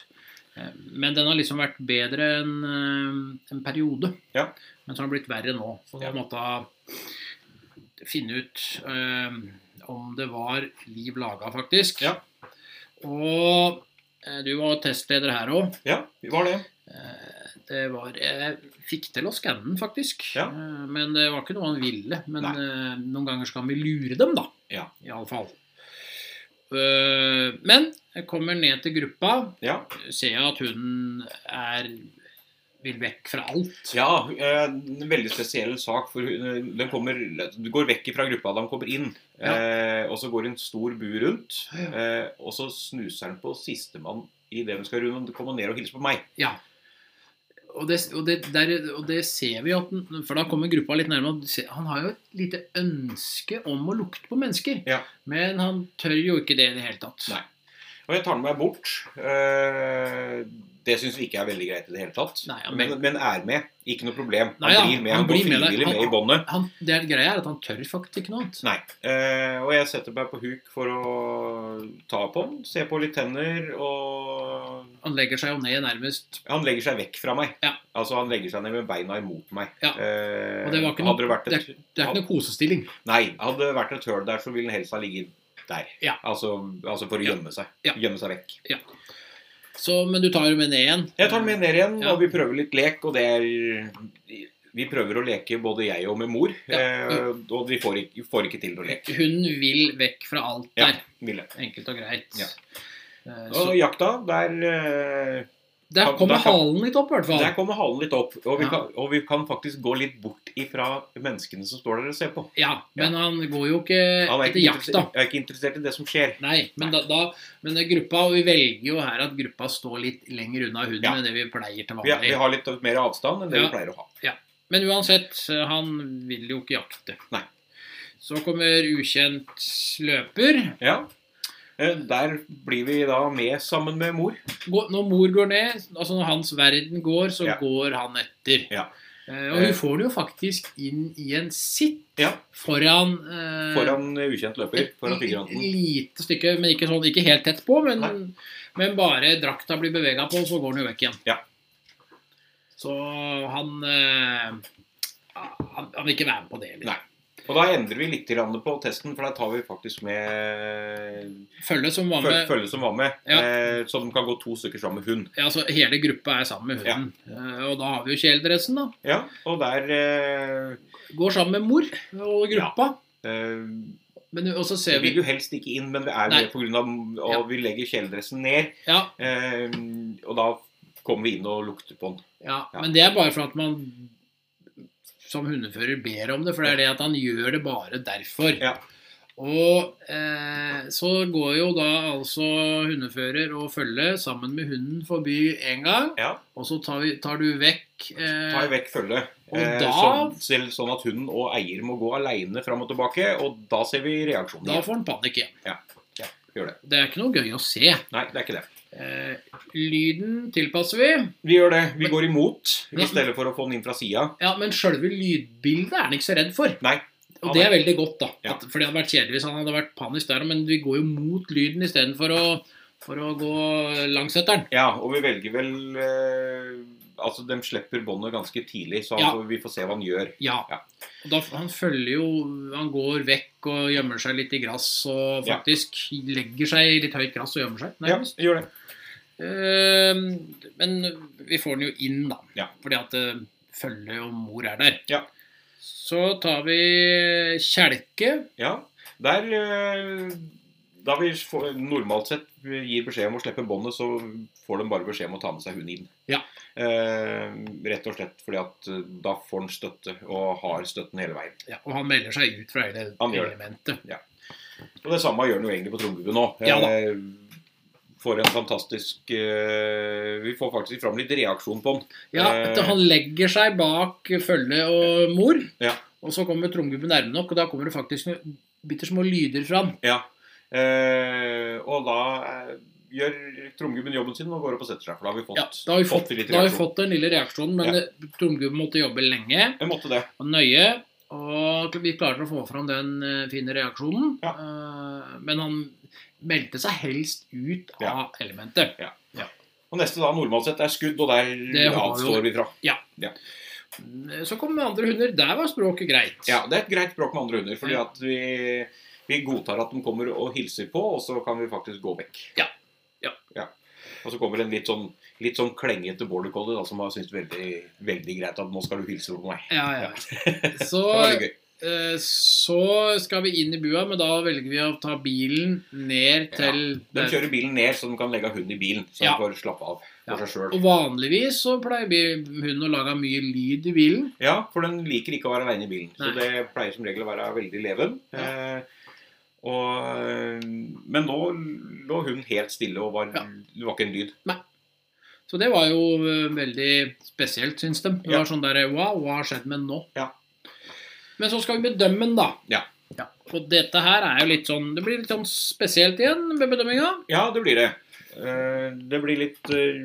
Speaker 2: Eh, men den har liksom vært bedre enn eh, en periode.
Speaker 1: Ja.
Speaker 2: Men så har den blitt verre nå. Så da
Speaker 1: Ja.
Speaker 2: måtte jeg finne ut eh, om det var liv laga, faktisk.
Speaker 1: Ja.
Speaker 2: Og eh, du var testleder her òg.
Speaker 1: Ja, det var det.
Speaker 2: Eh, Det var, jeg fikk til å skanne den, faktisk.
Speaker 1: Ja.
Speaker 2: Eh, Men det var ikke noe han ville. Men
Speaker 1: Nei.
Speaker 2: eh, noen ganger skal vi lure dem, da.
Speaker 1: Ja.
Speaker 2: I alle fall. Eh, Men jeg kommer ned til gruppa,
Speaker 1: Ja.
Speaker 2: ser jeg at hunden er vil vekk fra alt.
Speaker 1: ja eh, en veldig spesiell sak. For hun- eh, den kommer, du går vekk fra gruppa da han kommer inn.
Speaker 2: Ja.
Speaker 1: Eh, og så går en stor bu rundt.
Speaker 2: Ja.
Speaker 1: Eh, og så snuser han på sistemann idet hun skal runde. Kommer ned og hilser på meg.
Speaker 2: Ja. Og det, og, det, der, og det ser vi jo at den, For da kommer gruppa litt nærmere. og du ser- Han har jo et lite ønske om å lukte på mennesker.
Speaker 1: Ja.
Speaker 2: Men han tør jo ikke det i det hele tatt.
Speaker 1: Nei. Og jeg tar den med meg bort. Eh, det syns vi ikke er veldig greit i det hele tatt.
Speaker 2: Nei, han-
Speaker 1: men, men er med. Ikke noe problem. Han
Speaker 2: Nei, ja,
Speaker 1: blir med.
Speaker 2: han
Speaker 1: Han,
Speaker 2: blir med
Speaker 1: går
Speaker 2: deg.
Speaker 1: frivillig
Speaker 2: Han-
Speaker 1: med i båndet.
Speaker 2: han, det er greia er at han tør faktisk ikke noe annet.
Speaker 1: Nei. Eh, og jeg setter meg på huk for å ta på han, se på litt tenner, og
Speaker 2: Han legger seg jo ned nærmest.
Speaker 1: han legger seg vekk fra meg.
Speaker 2: Ja.
Speaker 1: Altså Han legger seg ned med beina imot meg.
Speaker 2: Ja.
Speaker 1: Eh,
Speaker 2: Og det var ikke noe-
Speaker 1: hadde det vært et,
Speaker 2: Det er ikke noe kosestilling.
Speaker 1: Nei, hadde det vært et høl der, så ville den helst ha ligget der.
Speaker 2: Ja.
Speaker 1: Altså, altså for å
Speaker 2: Ja.
Speaker 1: gjemme seg.
Speaker 2: Ja.
Speaker 1: Gjemme seg vekk.
Speaker 2: Så, men du tar jo med ned igjen.
Speaker 1: Jeg tar den med ned igjen,
Speaker 2: Ja.
Speaker 1: og vi prøver litt lek. Og det er Vi prøver å leke både jeg og med mor,
Speaker 2: Ja.
Speaker 1: eh, og vi får ikke, får ikke til noe lek.
Speaker 2: Hun vil vekk fra alt
Speaker 1: Ja.
Speaker 2: der.
Speaker 1: Ville.
Speaker 2: Enkelt og greit.
Speaker 1: Ja.
Speaker 2: Eh,
Speaker 1: Og
Speaker 2: Så
Speaker 1: jakta, der, eh,
Speaker 2: der
Speaker 1: da-
Speaker 2: kommer
Speaker 1: da kan-
Speaker 2: halen litt opp, i hvert fall.
Speaker 1: der kommer halen litt opp. Og vi,
Speaker 2: Ja.
Speaker 1: kan, og vi kan faktisk gå litt bort ifra menneskene som står der og ser på.
Speaker 2: Ja, men han går jo ikke
Speaker 1: Han er
Speaker 2: etter
Speaker 1: ikke,
Speaker 2: jakta.
Speaker 1: interessert- er ikke interessert i det som skjer.
Speaker 2: Nei, men, da, da, men gruppa, og vi velger jo her at gruppa står litt lenger unna hunden
Speaker 1: Ja.
Speaker 2: enn det vi pleier til
Speaker 1: Vi, er- vi
Speaker 2: vanlig.
Speaker 1: har litt mer avstand enn det
Speaker 2: Ja.
Speaker 1: vi pleier å ha.
Speaker 2: Men uansett, han vil jo ikke jakte.
Speaker 1: Nei.
Speaker 2: Så kommer ukjent løper.
Speaker 1: Ja. Eh, Der blir vi da med sammen med mor.
Speaker 2: Gå- Når mor går ned, altså når hans verden går, så
Speaker 1: Ja.
Speaker 2: går han etter.
Speaker 1: Ja.
Speaker 2: Eh, og hun
Speaker 1: Eh.
Speaker 2: får det jo faktisk inn i en sitt
Speaker 1: Ja.
Speaker 2: foran, eh,
Speaker 1: Foran eh, ukjent løper. Foran figuranten.
Speaker 2: Et lite stykke, men ikke, sånn, ikke helt tett på. Men,
Speaker 1: Nei.
Speaker 2: men bare drakta blir bevega på, så går den jo vekk igjen.
Speaker 1: Ja.
Speaker 2: Så han eh, han, han vil ikke være med på det. eller?
Speaker 1: Nei. Og da endrer vi litt grann på testen, for da tar vi faktisk med
Speaker 2: Følge som var
Speaker 1: føl-
Speaker 2: med
Speaker 1: følge som var med.
Speaker 2: Ja.
Speaker 1: Eh, så de kan gå to stykker sammen med hund.
Speaker 2: ja, altså, Hele gruppa er sammen med hunden. Eh, Og da har vi jo kjeledressen, da.
Speaker 1: Ja, og der eh,
Speaker 2: Går sammen med mor og gruppa.
Speaker 1: eh,
Speaker 2: Men og så
Speaker 1: Vi
Speaker 2: ser vi
Speaker 1: vil jo helst ikke inn, men vi er
Speaker 2: Nei.
Speaker 1: med pga. Og
Speaker 2: Ja.
Speaker 1: vi legger kjeledressen ned.
Speaker 2: ja,
Speaker 1: Eh, og da kommer vi inn og lukter på den.
Speaker 2: ja,
Speaker 1: Ja.
Speaker 2: men det er bare for at man som hundefører ber om det, for det er det at han gjør det bare derfor.
Speaker 1: Ja.
Speaker 2: Og eh, så går jo da altså hundefører og følge sammen med hunden forbi én gang.
Speaker 1: Ja.
Speaker 2: Og så tar, vi, tar du vekk eh,
Speaker 1: Ta vekk følget.
Speaker 2: Og
Speaker 1: Eh,
Speaker 2: da-
Speaker 1: sånn, selv sånn at hunden og eier må gå aleine fram og tilbake. Og da ser vi reaksjonen.
Speaker 2: Da får han panikk igjen.
Speaker 1: Ja. Ja, gjør det.
Speaker 2: er ikke noe gøy å se.
Speaker 1: Nei, det er ikke det.
Speaker 2: Eh, lyden tilpasser vi.
Speaker 1: Vi gjør det. Vi går imot
Speaker 2: Men-
Speaker 1: i stedet for å få den inn fra sida.
Speaker 2: Ja, Men sjølve lydbildet er han ikke så redd for.
Speaker 1: Nei.
Speaker 2: Og
Speaker 1: Han
Speaker 2: det
Speaker 1: er-
Speaker 2: er veldig godt, da.
Speaker 1: Ja.
Speaker 2: At, for det hadde vært kjedelig hvis han hadde vært panisk der men vi går jo mot lyden istedenfor å, for å gå langs etter den.
Speaker 1: Ja, og vi velger vel eh, Altså, de slipper båndet ganske tidlig, så
Speaker 2: Ja.
Speaker 1: vi får se hva han gjør.
Speaker 2: Ja.
Speaker 1: Ja.
Speaker 2: Og da, han følger jo Han går vekk og gjemmer seg litt i gress og
Speaker 1: Ja.
Speaker 2: faktisk legger seg i litt høyt gress og gjemmer seg.
Speaker 1: Ja,
Speaker 2: nærmest.
Speaker 1: gjør det.
Speaker 2: Eh, men vi får den jo inn, da.
Speaker 1: Ja.
Speaker 2: Fordi at eh, følge og mor er der.
Speaker 1: Ja.
Speaker 2: Så tar vi kjelke.
Speaker 1: Ja, der eh, Da vi får, normalt sett gir beskjed om å slippe båndet, så får de bare beskjed om å ta med seg hunden inn.
Speaker 2: Ja.
Speaker 1: Eh, rett og slett fordi at eh, da får han støtte, og har støtten hele veien.
Speaker 2: Ja, og han melder seg ut fra hele
Speaker 1: Han gjør det.
Speaker 2: elementet.
Speaker 1: Og det samme gjør han jo egentlig på trommegubben nå.
Speaker 2: Ja da.
Speaker 1: får en fantastisk eh, Vi får faktisk fram litt reaksjon på han.
Speaker 2: Ja,
Speaker 1: Eh.
Speaker 2: at Han legger seg bak følge og mor,
Speaker 1: Ja.
Speaker 2: og så kommer trommegubben nærme nok, og da kommer det faktisk noen bitte små lyder fra han.
Speaker 1: Ja. Eh, og da eh, gjør trommegubben jobben sin og går opp og setter seg. For da har vi fått,
Speaker 2: Ja, da har vi fått,
Speaker 1: litt
Speaker 2: da har vi
Speaker 1: reaksjon.
Speaker 2: fått den lille reaksjonen, men
Speaker 1: Ja.
Speaker 2: det- trommegubben måtte jobbe lenge.
Speaker 1: Jeg måtte det.
Speaker 2: og nøye. Og vi klarer å få fram den eh, fine reaksjonen. Eh, Men han meldte seg helst ut av
Speaker 1: Ja.
Speaker 2: elementet.
Speaker 1: Og neste da normalt sett er skudd, og
Speaker 2: Det
Speaker 1: der
Speaker 2: har vi jo.
Speaker 1: avstår vi fra.
Speaker 2: Så kom det andre hunder. Der var språket greit.
Speaker 1: Ja, Det er et greit bråk med andre hunder,
Speaker 2: Mm.
Speaker 1: fordi at vi, vi godtar at de kommer og hilser på, og så kan vi faktisk gå vekk.
Speaker 2: Ja. Ja.
Speaker 1: Og så kommer en litt sånn, litt sånn klengete border collie da, som har syntes veldig, veldig greit at nå skal du hilse på meg.
Speaker 2: Ja, ja.
Speaker 1: Det
Speaker 2: Så,
Speaker 1: var veldig gøy.
Speaker 2: eh, så skal vi inn i bua, men da velger vi å ta bilen ned til
Speaker 1: De kjører bilen ned, så de kan legge hunden i bilen, så
Speaker 2: Ja.
Speaker 1: de får slappe av for
Speaker 2: Ja.
Speaker 1: seg sjøl.
Speaker 2: Og vanligvis så pleier bi- hunden å lage mye lyd i bilen.
Speaker 1: Ja, for den liker ikke å være aleine i bilen. Så
Speaker 2: Nei.
Speaker 1: det pleier som regel å være veldig leven. Eh, og, eh, men nå lå hun helt stille og var,
Speaker 2: Ja.
Speaker 1: det var ikke en lyd.
Speaker 2: Så det var jo eh, veldig spesielt, syns de. Det
Speaker 1: Ja.
Speaker 2: var sånn der Wow, hva har skjedd med den nå?
Speaker 1: Ja.
Speaker 2: Men så skal vi bedømme den, da.
Speaker 1: Ja.
Speaker 2: Og dette her er jo litt sånn Det blir litt sånn spesielt igjen med bedømminga.
Speaker 1: Ja, det blir det. Eh, Det blir litt eh,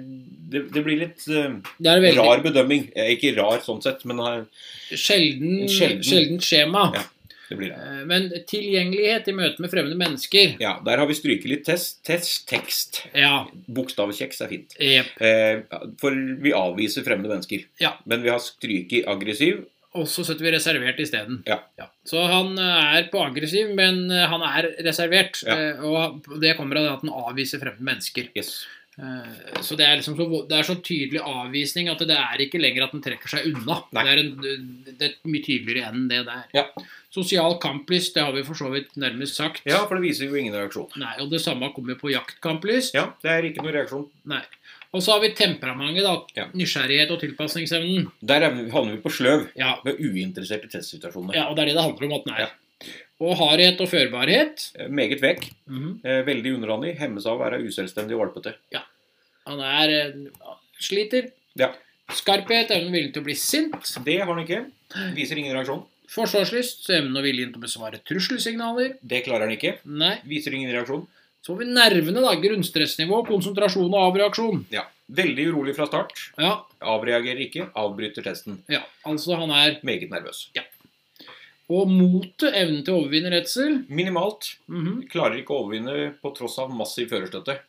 Speaker 1: Det, det blir litt eh,
Speaker 2: Det er veldig
Speaker 1: rar bedømming. Eh, Ikke rar sånn sett, men eh,
Speaker 2: sjelden,
Speaker 1: Sjelden.
Speaker 2: sjeldent skjema.
Speaker 1: Ja. det blir det.
Speaker 2: Eh, Men tilgjengelighet i møte med fremmede mennesker
Speaker 1: Ja, der har vi stryket litt test, test tekst.
Speaker 2: Ja.
Speaker 1: Bokstavkjeks er fint.
Speaker 2: Jep.
Speaker 1: Eh, For vi avviser fremmede mennesker.
Speaker 2: Ja.
Speaker 1: Men vi har stryket aggressiv.
Speaker 2: Og så setter vi reservert isteden.
Speaker 1: Ja.
Speaker 2: Så han eh, er på aggressiv, men eh, han er reservert.
Speaker 1: Ja.
Speaker 2: Eh, Og det kommer av det at han avviser fremmede mennesker.
Speaker 1: Yes.
Speaker 2: Eh, Så det er liksom så, det er så tydelig avvisning at det er ikke lenger at den trekker seg unna.
Speaker 1: Nei.
Speaker 2: Det er, en, det er mye tydeligere enn det der.
Speaker 1: Ja.
Speaker 2: Sosial kamplyst, det har vi for så vidt nærmest sagt.
Speaker 1: ja, for det viser jo ingen reaksjon.
Speaker 2: Nei, og det samme kommer på jaktkamplyst.
Speaker 1: Ja, det er ikke noen reaksjon.
Speaker 2: Nei. Og så har vi temperamentet, da.
Speaker 1: Ja.
Speaker 2: Nysgjerrighet og tilpasningsevnen.
Speaker 1: Der er vi- havner vi på sløv
Speaker 2: Ja.
Speaker 1: med uinteresserte testsituasjoner.
Speaker 2: ja, og det er det det handler om at den er. Og hardhet og førbarhet.
Speaker 1: Eh, Meget vekk.
Speaker 2: Mhm.
Speaker 1: eh, Veldig underåndig. Hemmes av å være uselvstendig og valpete.
Speaker 2: Han er eh, sliter.
Speaker 1: Ja.
Speaker 2: Skarphet, evnen og viljen til å bli sint.
Speaker 1: Det har han ikke. Viser ingen reaksjon.
Speaker 2: Forsvarslyst, evnen og viljen til å besvare trusselsignaler.
Speaker 1: Det klarer han ikke.
Speaker 2: Nei.
Speaker 1: Viser ingen reaksjon.
Speaker 2: Så har vi nervene, da. Grunnstressnivå, konsentrasjon og avreaksjon.
Speaker 1: Ja. Veldig urolig fra start.
Speaker 2: Ja,
Speaker 1: Avreagerer ikke. Avbryter testen.
Speaker 2: ja, altså han er
Speaker 1: Meget nervøs.
Speaker 2: Og motet, evnen til å overvinne redsel.
Speaker 1: Minimalt.
Speaker 2: Mhm.
Speaker 1: Klarer ikke å overvinne på tross av massiv førerstøtte.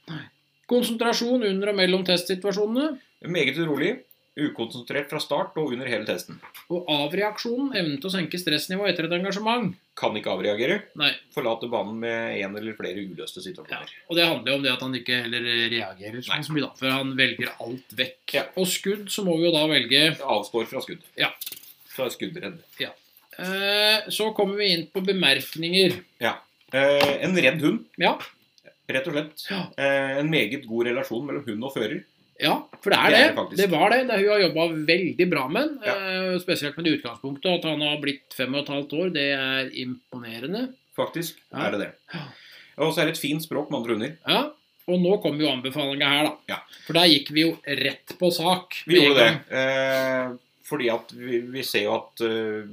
Speaker 2: Konsentrasjon under og mellom testsituasjonene.
Speaker 1: Meget urolig. Ukonsentrert fra start og under hele testen.
Speaker 2: Og avreaksjonen, evnen til å senke stressnivået etter et engasjement.
Speaker 1: Kan ikke avreagere.
Speaker 2: Nei,
Speaker 1: Forlate banen med én eller flere uløste
Speaker 2: ja.
Speaker 1: situasjoner.
Speaker 2: Og det handler jo om det at han ikke heller reagerer sånn
Speaker 1: Nei.
Speaker 2: som i dag, for han velger alt vekk.
Speaker 1: Ja.
Speaker 2: Og skudd så må vi jo da velge
Speaker 1: Avstår fra skudd.
Speaker 2: Ja.
Speaker 1: Fra skuddredd.
Speaker 2: Eh, Så kommer vi inn på bemerkninger.
Speaker 1: Eh, en redd hund,
Speaker 2: Ja,
Speaker 1: rett og slett.
Speaker 2: ja,
Speaker 1: Eh, en meget god relasjon mellom hund og fører.
Speaker 2: ja for det er
Speaker 1: Det
Speaker 2: det.
Speaker 1: er det
Speaker 2: Det,
Speaker 1: faktisk.
Speaker 2: var det. det hun har jobba veldig bra med den. eh, Spesielt med det utgangspunktet at han har blitt fem og et halvt år. Det er imponerende.
Speaker 1: Faktisk
Speaker 2: Ja.
Speaker 1: er det det.
Speaker 2: Ja.
Speaker 1: Og så er det et fint språk med andre hunder.
Speaker 2: Ja, og nå kommer jo anbefalinga her, da.
Speaker 1: Ja.
Speaker 2: For der gikk vi jo rett på sak.
Speaker 1: Vi
Speaker 2: med en
Speaker 1: gjorde det.
Speaker 2: gang.
Speaker 1: Eh, fordi at vi, vi ser jo at eh,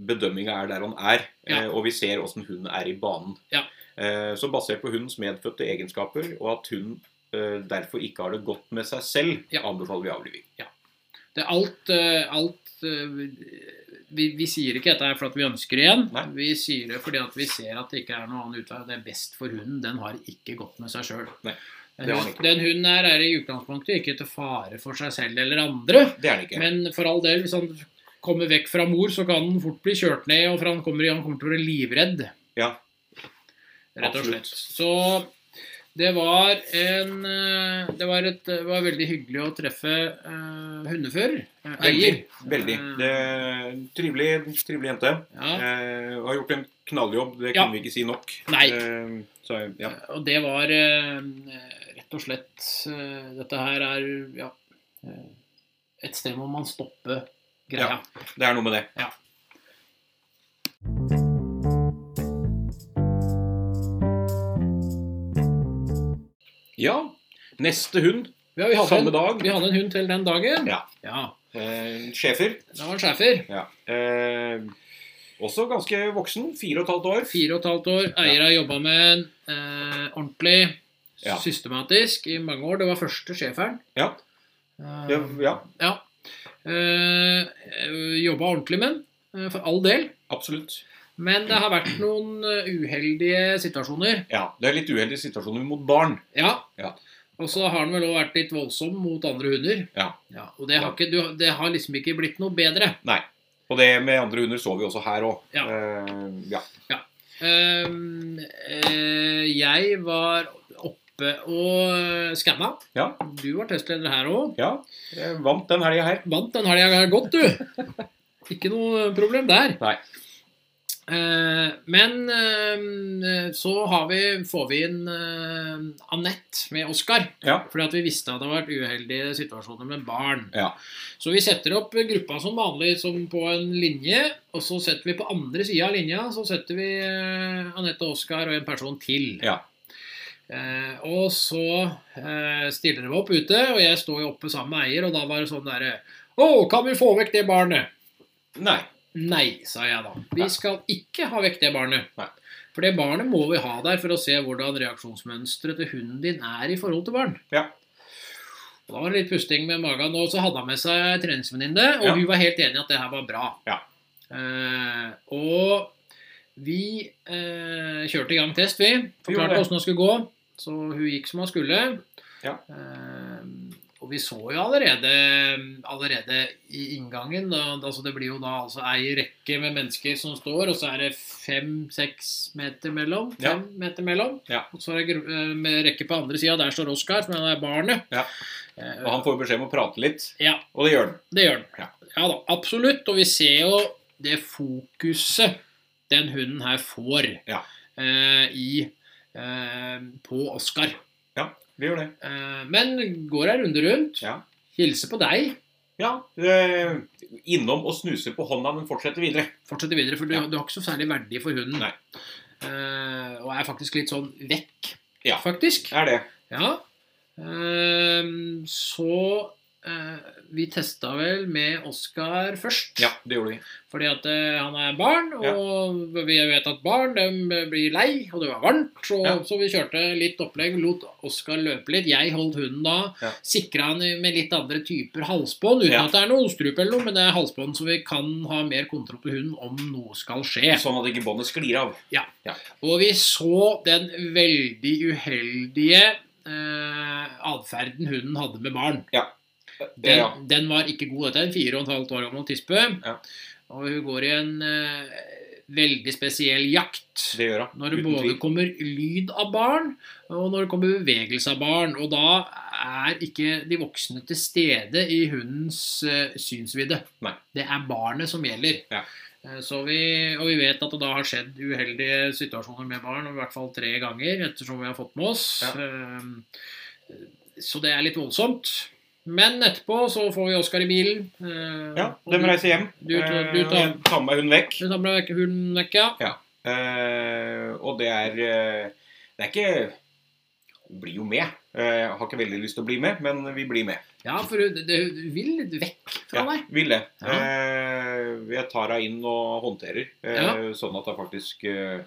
Speaker 1: bedømminga er der han er.
Speaker 2: Ja.
Speaker 1: Eh, og vi ser åssen hunden er i banen.
Speaker 2: Ja.
Speaker 1: Eh, så basert på hundens medfødte egenskaper, og at hunden eh, derfor ikke har det godt med seg selv,
Speaker 2: Ja.
Speaker 1: anbefaler vi avliving.
Speaker 2: Det er alt, eh, alt eh, vi, vi sier ikke dette her for at vi ønsker det igjen.
Speaker 1: Nei.
Speaker 2: Vi sier det fordi at vi ser at det ikke er noen annen utvei. Det er best for hunden. Den har ikke godt med seg sjøl.
Speaker 1: Nei, det har
Speaker 2: Den,
Speaker 1: den
Speaker 2: hund-
Speaker 1: ikke.
Speaker 2: den hunden her er i utgangspunktet ikke til fare for seg selv eller andre.
Speaker 1: Det er det ikke.
Speaker 2: Men for all del, hvis han kommer vekk fra mor, så kan han fort bli kjørt ned, og for han kommer, han kommer til å bli livredd.
Speaker 1: Ja.
Speaker 2: Rett og
Speaker 1: Absolutt.
Speaker 2: slett. Så det var en eh, Det var, et, det var veldig hyggelig å treffe eh, hundefører. eh,
Speaker 1: Veldig.
Speaker 2: Eier. Eh, Mm.
Speaker 1: Veldig. Det er en trivelig, trivelig jente.
Speaker 2: Ja,
Speaker 1: Eh, og har gjort en knalljobb. Det
Speaker 2: Ja.
Speaker 1: kunne vi ikke si nok.
Speaker 2: Nei.
Speaker 1: Eh, så, ja.
Speaker 2: og det var eh, rett og slett eh, Dette her er ja, eh, et sted hvor man stopper greia.
Speaker 1: Det er noe med det.
Speaker 2: Ja.
Speaker 1: Ja, Neste hund.
Speaker 2: Vi har- vi hadde
Speaker 1: Samme
Speaker 2: en,
Speaker 1: dag.
Speaker 2: Vi hadde en hund til den dagen.
Speaker 1: Ja.
Speaker 2: ja.
Speaker 1: Eh, Schæfer.
Speaker 2: Det var en schæfer.
Speaker 1: Ja. Eh, også ganske voksen. Fire og et halvt år.
Speaker 2: Fire og et halvt år. Eier har jobba med den eh, ordentlig,
Speaker 1: Ja.
Speaker 2: systematisk, i mange år. Det var første schæferen.
Speaker 1: Ja.
Speaker 2: Eh,
Speaker 1: Ja, ja
Speaker 2: ja. Eh, jobba ordentlig med den, eh, for all del.
Speaker 1: absolutt.
Speaker 2: Men det har vært noen eh, uheldige situasjoner.
Speaker 1: Ja, Det er litt uheldige situasjoner mot barn.
Speaker 2: Ja.
Speaker 1: Ja.
Speaker 2: Og så har den vel òg vært litt voldsom mot andre hunder.
Speaker 1: Ja.
Speaker 2: og det har, ikke, du, det har liksom ikke blitt noe bedre.
Speaker 1: Nei. Og det med andre hunder så vi også her òg.
Speaker 2: Ja.
Speaker 1: Eh, ja.
Speaker 2: Ehm, eh, jeg var oppe og eh, skanna.
Speaker 1: Ja.
Speaker 2: Du var testleder her òg.
Speaker 1: ja. Jeg vant den helga her.
Speaker 2: Vant den helga her godt, du. Ikke noe problem der.
Speaker 1: Nei.
Speaker 2: Eh, men eh, så har vi, får vi inn eh, Anette med Oskar.
Speaker 1: Ja.
Speaker 2: Fordi at vi visste at det har vært uheldige situasjoner med barn.
Speaker 1: Ja.
Speaker 2: Så vi setter opp gruppa som vanlig som på en linje. Og så setter vi på andre sida av linja så setter vi eh, Anette og Oskar og en person til.
Speaker 1: Ja.
Speaker 2: Eh, og så eh, stiller de opp ute, og jeg står jo oppe sammen med eier, og da var det sånn derre Å, kan vi få vekk det barnet?
Speaker 1: Nei.
Speaker 2: Nei, sa jeg da. Vi
Speaker 1: Nei.
Speaker 2: skal ikke ha vekk det barnet.
Speaker 1: Nei.
Speaker 2: For det barnet må vi ha der for å se hvordan reaksjonsmønsteret til hunden din er i forhold til barn.
Speaker 1: Ja.
Speaker 2: Og Da var det litt pusting med magen, og så hadde han med seg treningsvenninne, og
Speaker 1: Ja.
Speaker 2: hun var helt enig i at det her var bra.
Speaker 1: Ja.
Speaker 2: Eh, og vi eh, kjørte i gang test, vi.
Speaker 1: gjorde
Speaker 2: Forklarte
Speaker 1: det.
Speaker 2: åssen det skulle gå. Så hun gikk som hun skulle.
Speaker 1: Ja.
Speaker 2: Eh, og vi så jo allerede, allerede i inngangen da, altså Det blir jo da altså ei rekke med mennesker som står, og så er det fem-seks meter mellom.
Speaker 1: Ja.
Speaker 2: Fem meter mellom.
Speaker 1: Ja.
Speaker 2: Og så er det gru- eh, med rekke på andre sida. Der står Oskar, som er barnet.
Speaker 1: Ja.
Speaker 2: Eh,
Speaker 1: Og han får beskjed om å prate litt,
Speaker 2: ja,
Speaker 1: og det gjør han.
Speaker 2: det gjør den.
Speaker 1: Ja.
Speaker 2: Ja. da, absolutt. Og vi ser jo det fokuset den hunden her får
Speaker 1: Ja.
Speaker 2: eh, i, eh, på Oskar.
Speaker 1: Vi gjør det.
Speaker 2: Eh, men går ei runde rundt.
Speaker 1: Ja.
Speaker 2: Hilser på deg.
Speaker 1: Ja, eh, innom og snuser på hånda, men fortsetter videre.
Speaker 2: Fortsetter videre, for du,
Speaker 1: Ja.
Speaker 2: du har ikke så særlig verdi for hunden.
Speaker 1: Nei.
Speaker 2: Eh, og er faktisk litt sånn vekk,
Speaker 1: Ja.
Speaker 2: faktisk.
Speaker 1: Er det.
Speaker 2: Ja. Ehm, så eh, Vi testa vel med Oskar først.
Speaker 1: Ja, det gjorde vi.
Speaker 2: Fordi at eh, han er barn, og vi vet at barn de blir lei, og det var varmt. Og,
Speaker 1: Ja.
Speaker 2: Så vi kjørte litt opplegg, lot Oskar løpe litt. Jeg holdt hunden da.
Speaker 1: Ja.
Speaker 2: Sikra han med litt andre typer halsbånd, uten
Speaker 1: Ja.
Speaker 2: at det er noe ostrup eller noe, men det er halsbånd så vi kan ha mer kontroll på hunden om noe skal skje.
Speaker 1: Sånn at ikke båndet sklir av.
Speaker 2: Og vi så den veldig uheldige eh, atferden hunden hadde med barn.
Speaker 1: Ja.
Speaker 2: Den,
Speaker 1: Ja.
Speaker 2: den var ikke god. Dette er en fire og et halvt år gammel tispe.
Speaker 1: Ja.
Speaker 2: Og hun går i en eh, veldig spesiell jakt.
Speaker 1: Det gjør hun.
Speaker 2: Når det
Speaker 1: uten
Speaker 2: både
Speaker 1: tvil.
Speaker 2: kommer lyd av barn, og når det kommer bevegelse av barn. Og da er ikke de voksne til stede i hundens eh, synsvidde.
Speaker 1: Nei.
Speaker 2: Det er barnet som gjelder.
Speaker 1: Ja.
Speaker 2: Eh, Så vi, og vi vet at det da har skjedd uheldige situasjoner med barn, og i hvert fall tre ganger, ettersom vi har fått med oss.
Speaker 1: Ja.
Speaker 2: Eh, Så det er litt voldsomt. Men etterpå så får vi Oskar i bilen. eh,
Speaker 1: Ja,
Speaker 2: og
Speaker 1: de
Speaker 2: du-
Speaker 1: reiser hjem.
Speaker 2: du tar- du
Speaker 1: Eh, og
Speaker 2: tar-
Speaker 1: jeg tar med hun vekk.
Speaker 2: Du tar med vekk hunden vekk, ja.
Speaker 1: Eh, og det er eh, Det er ikke Blir jo med. Eh, har ikke veldig lyst til å bli med, men vi blir med.
Speaker 2: Ja, for hun det- hun vil litt vekk fra
Speaker 1: Ja,
Speaker 2: deg.
Speaker 1: vil det.
Speaker 2: Ja.
Speaker 1: Eh, jeg tar henne inn og håndterer, eh,
Speaker 2: Ja.
Speaker 1: sånn at det faktisk eh,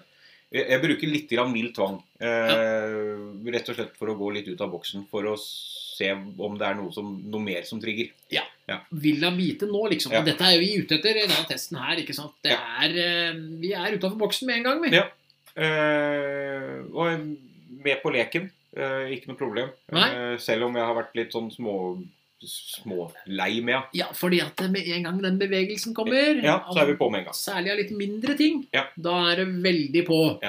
Speaker 1: jeg, jeg bruker litt grann mild tvang. Eh, Rett og slett for å gå litt ut av boksen, for å se om det er noe, som, noe mer som trigger.
Speaker 2: Vil han vite nå, liksom?
Speaker 1: Ja.
Speaker 2: Og dette er jo vi ute etter i denne testen her. ikke sant? Det er, eh, vi er utafor boksen med en gang, vi.
Speaker 1: Ja. Eh, og er med på leken. Eh, ikke noe problem.
Speaker 2: Nei.
Speaker 1: Eh, selv om jeg har vært litt sånn små smålei med henne.
Speaker 2: Ja, fordi at med en gang den bevegelsen kommer,
Speaker 1: Ja, så er vi på med en gang.
Speaker 2: særlig av litt mindre ting,
Speaker 1: Ja.
Speaker 2: da er det veldig på.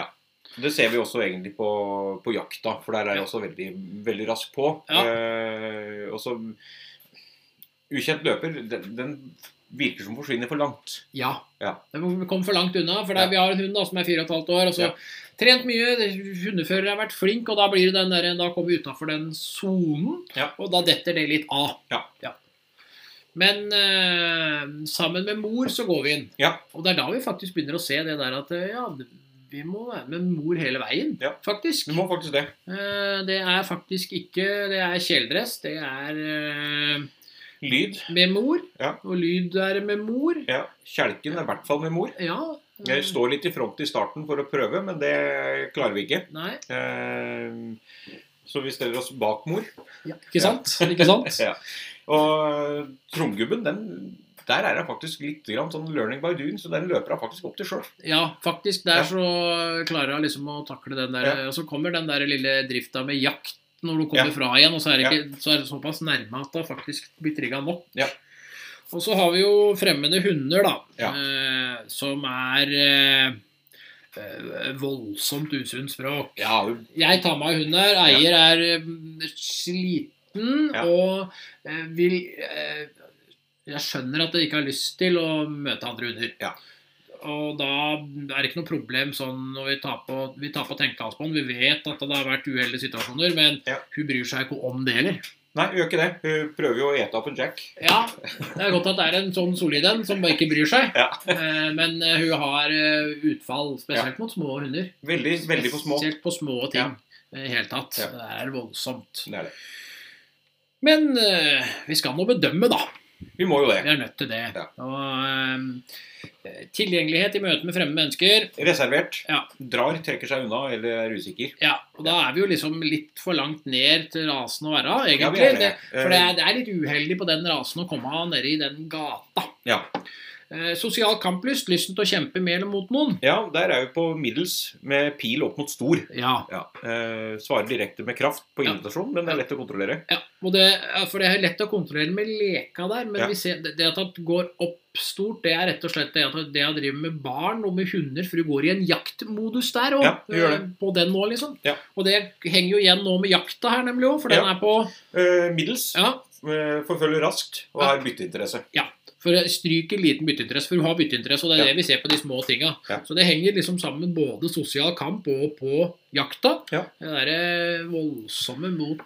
Speaker 1: Det ser vi også egentlig på, på jakta, for der er
Speaker 2: Ja.
Speaker 1: jeg også veldig, veldig rask på.
Speaker 2: Ja.
Speaker 1: Eh, og så Ukjent løper, den, den virker som forsvinner for langt.
Speaker 2: Ja.
Speaker 1: Ja.
Speaker 2: Vi kom for langt unna, for der
Speaker 1: Ja.
Speaker 2: vi har en hund da, som er fire og et halvt år. og så
Speaker 1: Ja.
Speaker 2: Trent mye, hundefører har vært flink, og da blir det den der, da kommer vi utafor den sonen,
Speaker 1: Ja.
Speaker 2: og da detter det litt av.
Speaker 1: Ja.
Speaker 2: Men eh, sammen med mor så går vi inn.
Speaker 1: Ja.
Speaker 2: Og det er da vi faktisk begynner å se det der at eh, ja, vi må være med mor hele veien,
Speaker 1: Ja.
Speaker 2: faktisk.
Speaker 1: Du må faktisk det.
Speaker 2: Eh, det er faktisk ikke Det er kjeledress, det er eh,
Speaker 1: Lyd.
Speaker 2: med mor,
Speaker 1: Ja.
Speaker 2: og lyd er med mor.
Speaker 1: Ja. Kjelken er i hvert fall med mor.
Speaker 2: Ja.
Speaker 1: Jeg står litt i front i starten for å prøve, men det klarer vi ikke.
Speaker 2: Nei.
Speaker 1: Eh, Så vi steller oss bak mor.
Speaker 2: Ja, ikke sant? Ikke sant?
Speaker 1: Ja. Og tromgubben, den, der er hun faktisk litt grann sånn learning by doing, så den løper hun faktisk opp til sjøl.
Speaker 2: Ja, faktisk. Der
Speaker 1: Ja.
Speaker 2: så klarer hun liksom å takle den der. Og så kommer den der lille drifta med jakt når du kommer
Speaker 1: Ja.
Speaker 2: fra igjen, og så er, det ikke, så er det såpass nærme at det faktisk blir trigga nok.
Speaker 1: Ja.
Speaker 2: Og så har vi jo fremmede hunder, da,
Speaker 1: Ja.
Speaker 2: eh, som er eh, eh, voldsomt usunt språk.
Speaker 1: Ja,
Speaker 2: Jeg tar meg av hunden her. Eier er eh, sliten
Speaker 1: Ja.
Speaker 2: og eh, vil eh, Jeg skjønner at jeg ikke har lyst til å møte andre hunder.
Speaker 1: Ja.
Speaker 2: Og da er det ikke noe problem sånn når vi tar på, vi tar på tenkehalsbånd. Vi vet at det har vært uheldige situasjoner, men
Speaker 1: Ja.
Speaker 2: hun bryr seg ikke om det heller.
Speaker 1: Nei, hun gjør ikke det. Hun prøver jo å ete opp en jack.
Speaker 2: Ja, Det er godt at det er en sånn solid en som bare ikke bryr seg.
Speaker 1: Ja.
Speaker 2: Eh, men eh, hun har eh, utfall, spesielt mot små hunder.
Speaker 1: Veldig, veldig på små.
Speaker 2: Spesielt på små
Speaker 1: Ja.
Speaker 2: ting. eh, I det hele tatt.
Speaker 1: Ja.
Speaker 2: Det er voldsomt.
Speaker 1: Det er det.
Speaker 2: Men eh, vi skal nå bedømme, da.
Speaker 1: Vi må jo
Speaker 2: Vi
Speaker 1: det.
Speaker 2: er nødt til det.
Speaker 1: Ja.
Speaker 2: Og, eh, tilgjengelighet i møte med fremmede mennesker.
Speaker 1: Reservert.
Speaker 2: Ja.
Speaker 1: Drar, trekker seg unna eller er usikker.
Speaker 2: Ja, og Da er vi jo liksom litt for langt ned til rasen å være,
Speaker 1: Ja, vi
Speaker 2: egentlig.
Speaker 1: er
Speaker 2: det.
Speaker 1: det. Eh,
Speaker 2: For det er, det er litt uheldig på den rasen å komme nede i den gata.
Speaker 1: Ja.
Speaker 2: Eh, sosial kamplyst, lysten til å kjempe med eller mot noen.
Speaker 1: Ja, der er vi på middels med pil opp mot stor.
Speaker 2: Ja,
Speaker 1: Ja. Eh, svarer direkte med kraft på
Speaker 2: Ja.
Speaker 1: invitasjon, men det er lett å kontrollere.
Speaker 2: Ja, og det, ja, for det er lett å kontrollere med leka der, men
Speaker 1: Ja.
Speaker 2: vi ser, det det at han går opp stort, det er rett og slett det at han- det han driver med barn og med hunder, for du går i en jaktmodus der òg.
Speaker 1: Ja, det gjør det.
Speaker 2: På den nå, liksom.
Speaker 1: Ja.
Speaker 2: Og det henger jo igjen nå med jakta her, nemlig òg, for den
Speaker 1: Ja.
Speaker 2: er på
Speaker 1: Eh, middels.
Speaker 2: Ja,
Speaker 1: Eh, forfølger raskt og har bytteinteresse.
Speaker 2: for stryker liten bytteinteresse, for hun har bytteinteresse, og det er
Speaker 1: Ja.
Speaker 2: det vi ser på de små tinga.
Speaker 1: Ja.
Speaker 2: Så det henger liksom sammen både sosial kamp og på jakta.
Speaker 1: Ja.
Speaker 2: Det derre voldsomme mot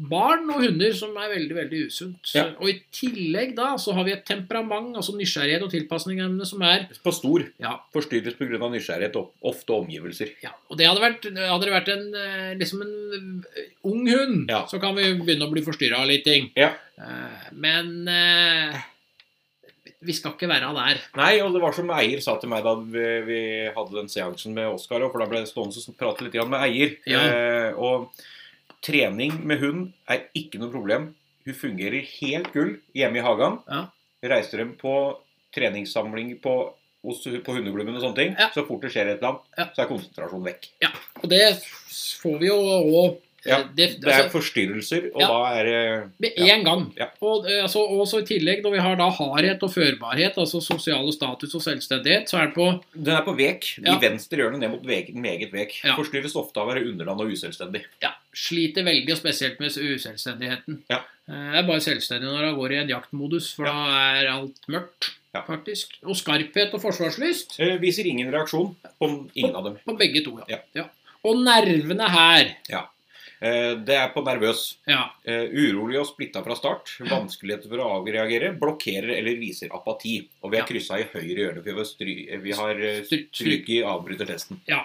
Speaker 2: barn og hunder som er veldig, veldig usunt.
Speaker 1: Ja.
Speaker 2: Og i tillegg da så har vi et temperament, altså nysgjerrighet og tilpasningsevne som er
Speaker 1: På stor.
Speaker 2: ja,
Speaker 1: Forstyrres pga. nysgjerrighet og ofte omgivelser.
Speaker 2: ja. Og det hadde vært, hadde det vært en, eh, liksom en eh, ung hund,
Speaker 1: Ja.
Speaker 2: så kan vi begynne å bli forstyrra av litt ting.
Speaker 1: Ja.
Speaker 2: Eh, Men eh, vi skal ikke være der.
Speaker 1: Nei, og det var som eier sa til meg da vi, vi hadde den seansen med Oskar, for da ble det stående og prate litt grann med eier.
Speaker 2: Ja.
Speaker 1: Eh, og trening med hund er ikke noe problem. Hun fungerer helt gull hjemme i hagen.
Speaker 2: Ja.
Speaker 1: Reiser dem på treningssamling på, hos, på hundeklubben og sånne ting.
Speaker 2: Ja.
Speaker 1: Så fort det skjer et eller annet,
Speaker 2: Ja.
Speaker 1: så er konsentrasjonen vekk.
Speaker 2: Og det får vi jo òg
Speaker 1: Ja,
Speaker 2: Eh,
Speaker 1: det, er
Speaker 2: altså,
Speaker 1: forstyrrelser, og
Speaker 2: Ja.
Speaker 1: da er eh, det
Speaker 2: med
Speaker 1: ja.
Speaker 2: én gang.
Speaker 1: Ja.
Speaker 2: Og, eh, altså, og så i tillegg, når vi har da hardhet og førbarhet, altså sosial status og selvstendighet, så er det på
Speaker 1: Den er på vek. I
Speaker 2: Ja.
Speaker 1: venstre hjørne ned mot veken, meget vek.
Speaker 2: Ja.
Speaker 1: Forstyrres ofte av å være underland og uselvstendig.
Speaker 2: ja, sliter veldig, og spesielt med uselvstendigheten.
Speaker 1: Ja.
Speaker 2: Eh, Jeg er bare selvstendig når jeg går i en jaktmodus, for da er alt mørkt,
Speaker 1: Ja.
Speaker 2: faktisk. Og skarphet og forsvarslyst
Speaker 1: Eh, Viser ingen reaksjon på ingen av dem.
Speaker 2: på begge to, ja.
Speaker 1: Ja.
Speaker 2: Og nervene her.
Speaker 1: Eh, Det er på nervøs.
Speaker 2: Ja.
Speaker 1: Eh, Urolig og splitta fra start. Vanskeligheter for å avreagere. Blokkerer eller viser apati. Og vi har
Speaker 2: Ja.
Speaker 1: kryssa i høyre hjørne, for vi har stry- vi har eh,
Speaker 2: Stryk.
Speaker 1: stryk i avbryter testen.
Speaker 2: ja.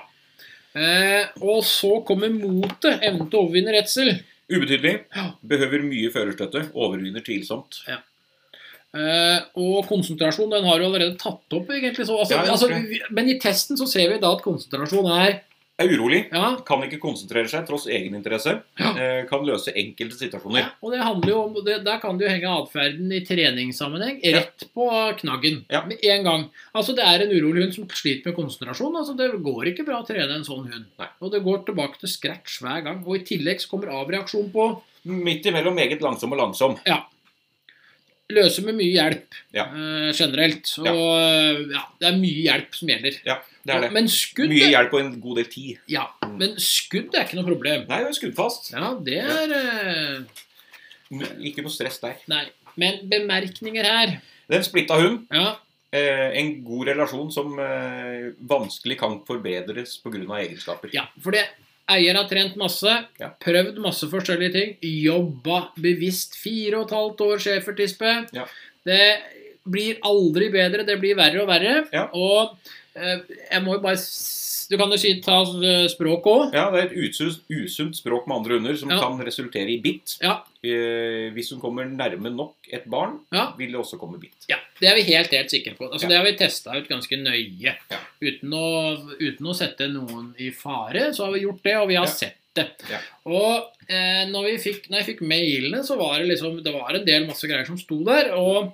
Speaker 2: Eh, og så kommer motet, evnen til å overvinne redsel.
Speaker 1: Ubetydelig.
Speaker 2: Ja.
Speaker 1: Behøver mye førerstøtte. Overvinner tvilsomt.
Speaker 2: Eh, og konsentrasjon, den har du allerede tatt opp, egentlig. Så, altså,
Speaker 1: Ja, jeg
Speaker 2: altså,
Speaker 1: tror det.
Speaker 2: vi- men i testen så ser vi da at konsentrasjon er
Speaker 1: Er urolig.
Speaker 2: ja,
Speaker 1: Kan ikke konsentrere seg tross egeninteresse.
Speaker 2: Ja.
Speaker 1: Eh, Kan løse enkelte situasjoner.
Speaker 2: ja, og det handler jo om det, Der kan du henge atferden i treningssammenheng rett på knaggen
Speaker 1: Ja.
Speaker 2: med en gang. Altså Det er en urolig hund som sliter med konsentrasjon. Altså Det går ikke bra å trene en sånn hund.
Speaker 1: Nei.
Speaker 2: Og det går tilbake til scratch hver gang. Og i tillegg så kommer avreaksjon på
Speaker 1: Midt imellom meget langsom og langsom.
Speaker 2: løse med mye hjelp
Speaker 1: Ja.
Speaker 2: eh, generelt. Så
Speaker 1: Ja.
Speaker 2: eh, ja, det er mye hjelp som gjelder.
Speaker 1: Det er det.
Speaker 2: Men skudd
Speaker 1: Mye hjelp og en god del tid.
Speaker 2: Ja, men skudd er ikke noe problem.
Speaker 1: Nei, det er skuddfast.
Speaker 2: Ja, det er eh,
Speaker 1: Ikke noe stress der.
Speaker 2: Nei. Men bemerkninger her
Speaker 1: Den splitta hund.
Speaker 2: Ja,
Speaker 1: Eh, en god relasjon som eh, vanskelig kan forbedres pga. egenskaper.
Speaker 2: ja for det Eier har trent masse,
Speaker 1: Ja.
Speaker 2: prøvd masse forskjellige ting, jobba bevisst fire og et halvt år schæfertispe.
Speaker 1: Ja.
Speaker 2: Det blir aldri bedre, det blir verre og verre.
Speaker 1: Ja.
Speaker 2: Og eh, jeg må jo bare s- Du kan jo si ta eh, språk òg.
Speaker 1: Ja, Det er et usunt, usunt språk med andre hunder som
Speaker 2: Ja.
Speaker 1: kan resultere i bitt.
Speaker 2: Ja.
Speaker 1: Eh, hvis hun kommer nærme nok et barn,
Speaker 2: Ja.
Speaker 1: vil det også komme bitt.
Speaker 2: Ja, Det er vi helt helt sikre på. Altså,
Speaker 1: Ja.
Speaker 2: Det har vi testa ut ganske nøye.
Speaker 1: Ja.
Speaker 2: Uten, å, uten å sette noen i fare, så har vi gjort det, og vi har
Speaker 1: Ja.
Speaker 2: sett det.
Speaker 1: Ja.
Speaker 2: Og eh, når, vi fikk, når jeg fikk mailene, så var det liksom Det var en del masse greier som sto der. og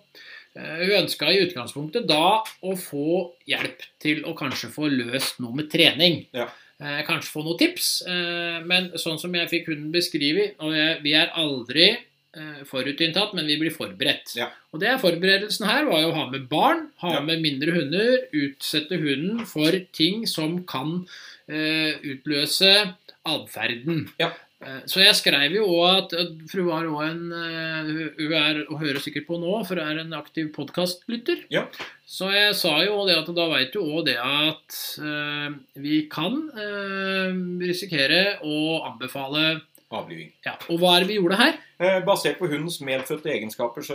Speaker 2: eh, hun ønska i utgangspunktet da å få hjelp til å kanskje få løst noe med trening.
Speaker 1: Ja.
Speaker 2: Eh, kanskje få noen tips. Eh, men sånn som jeg fikk hunden beskrevet og jeg, Vi er aldri eh, forutinntatt, men vi blir forberedt.
Speaker 1: Ja.
Speaker 2: Og det er forberedelsen her var jo å ha med barn, ha
Speaker 1: Ja.
Speaker 2: med mindre hunder, utsette hunden for ting som kan eh, utløse atferden.
Speaker 1: Ja.
Speaker 2: Eh, Så jeg skrev jo òg at at fru var også en eh, hun- Hun er, og hører sikkert på nå, for hun er en aktiv podkastlytter.
Speaker 1: Ja.
Speaker 2: Så jeg sa jo også det at da veit du òg det at eh, vi kan eh, risikere å anbefale
Speaker 1: Avliving.
Speaker 2: Ja, og hva er det vi gjorde her?
Speaker 1: Eh, basert på hundens medfødte egenskaper så,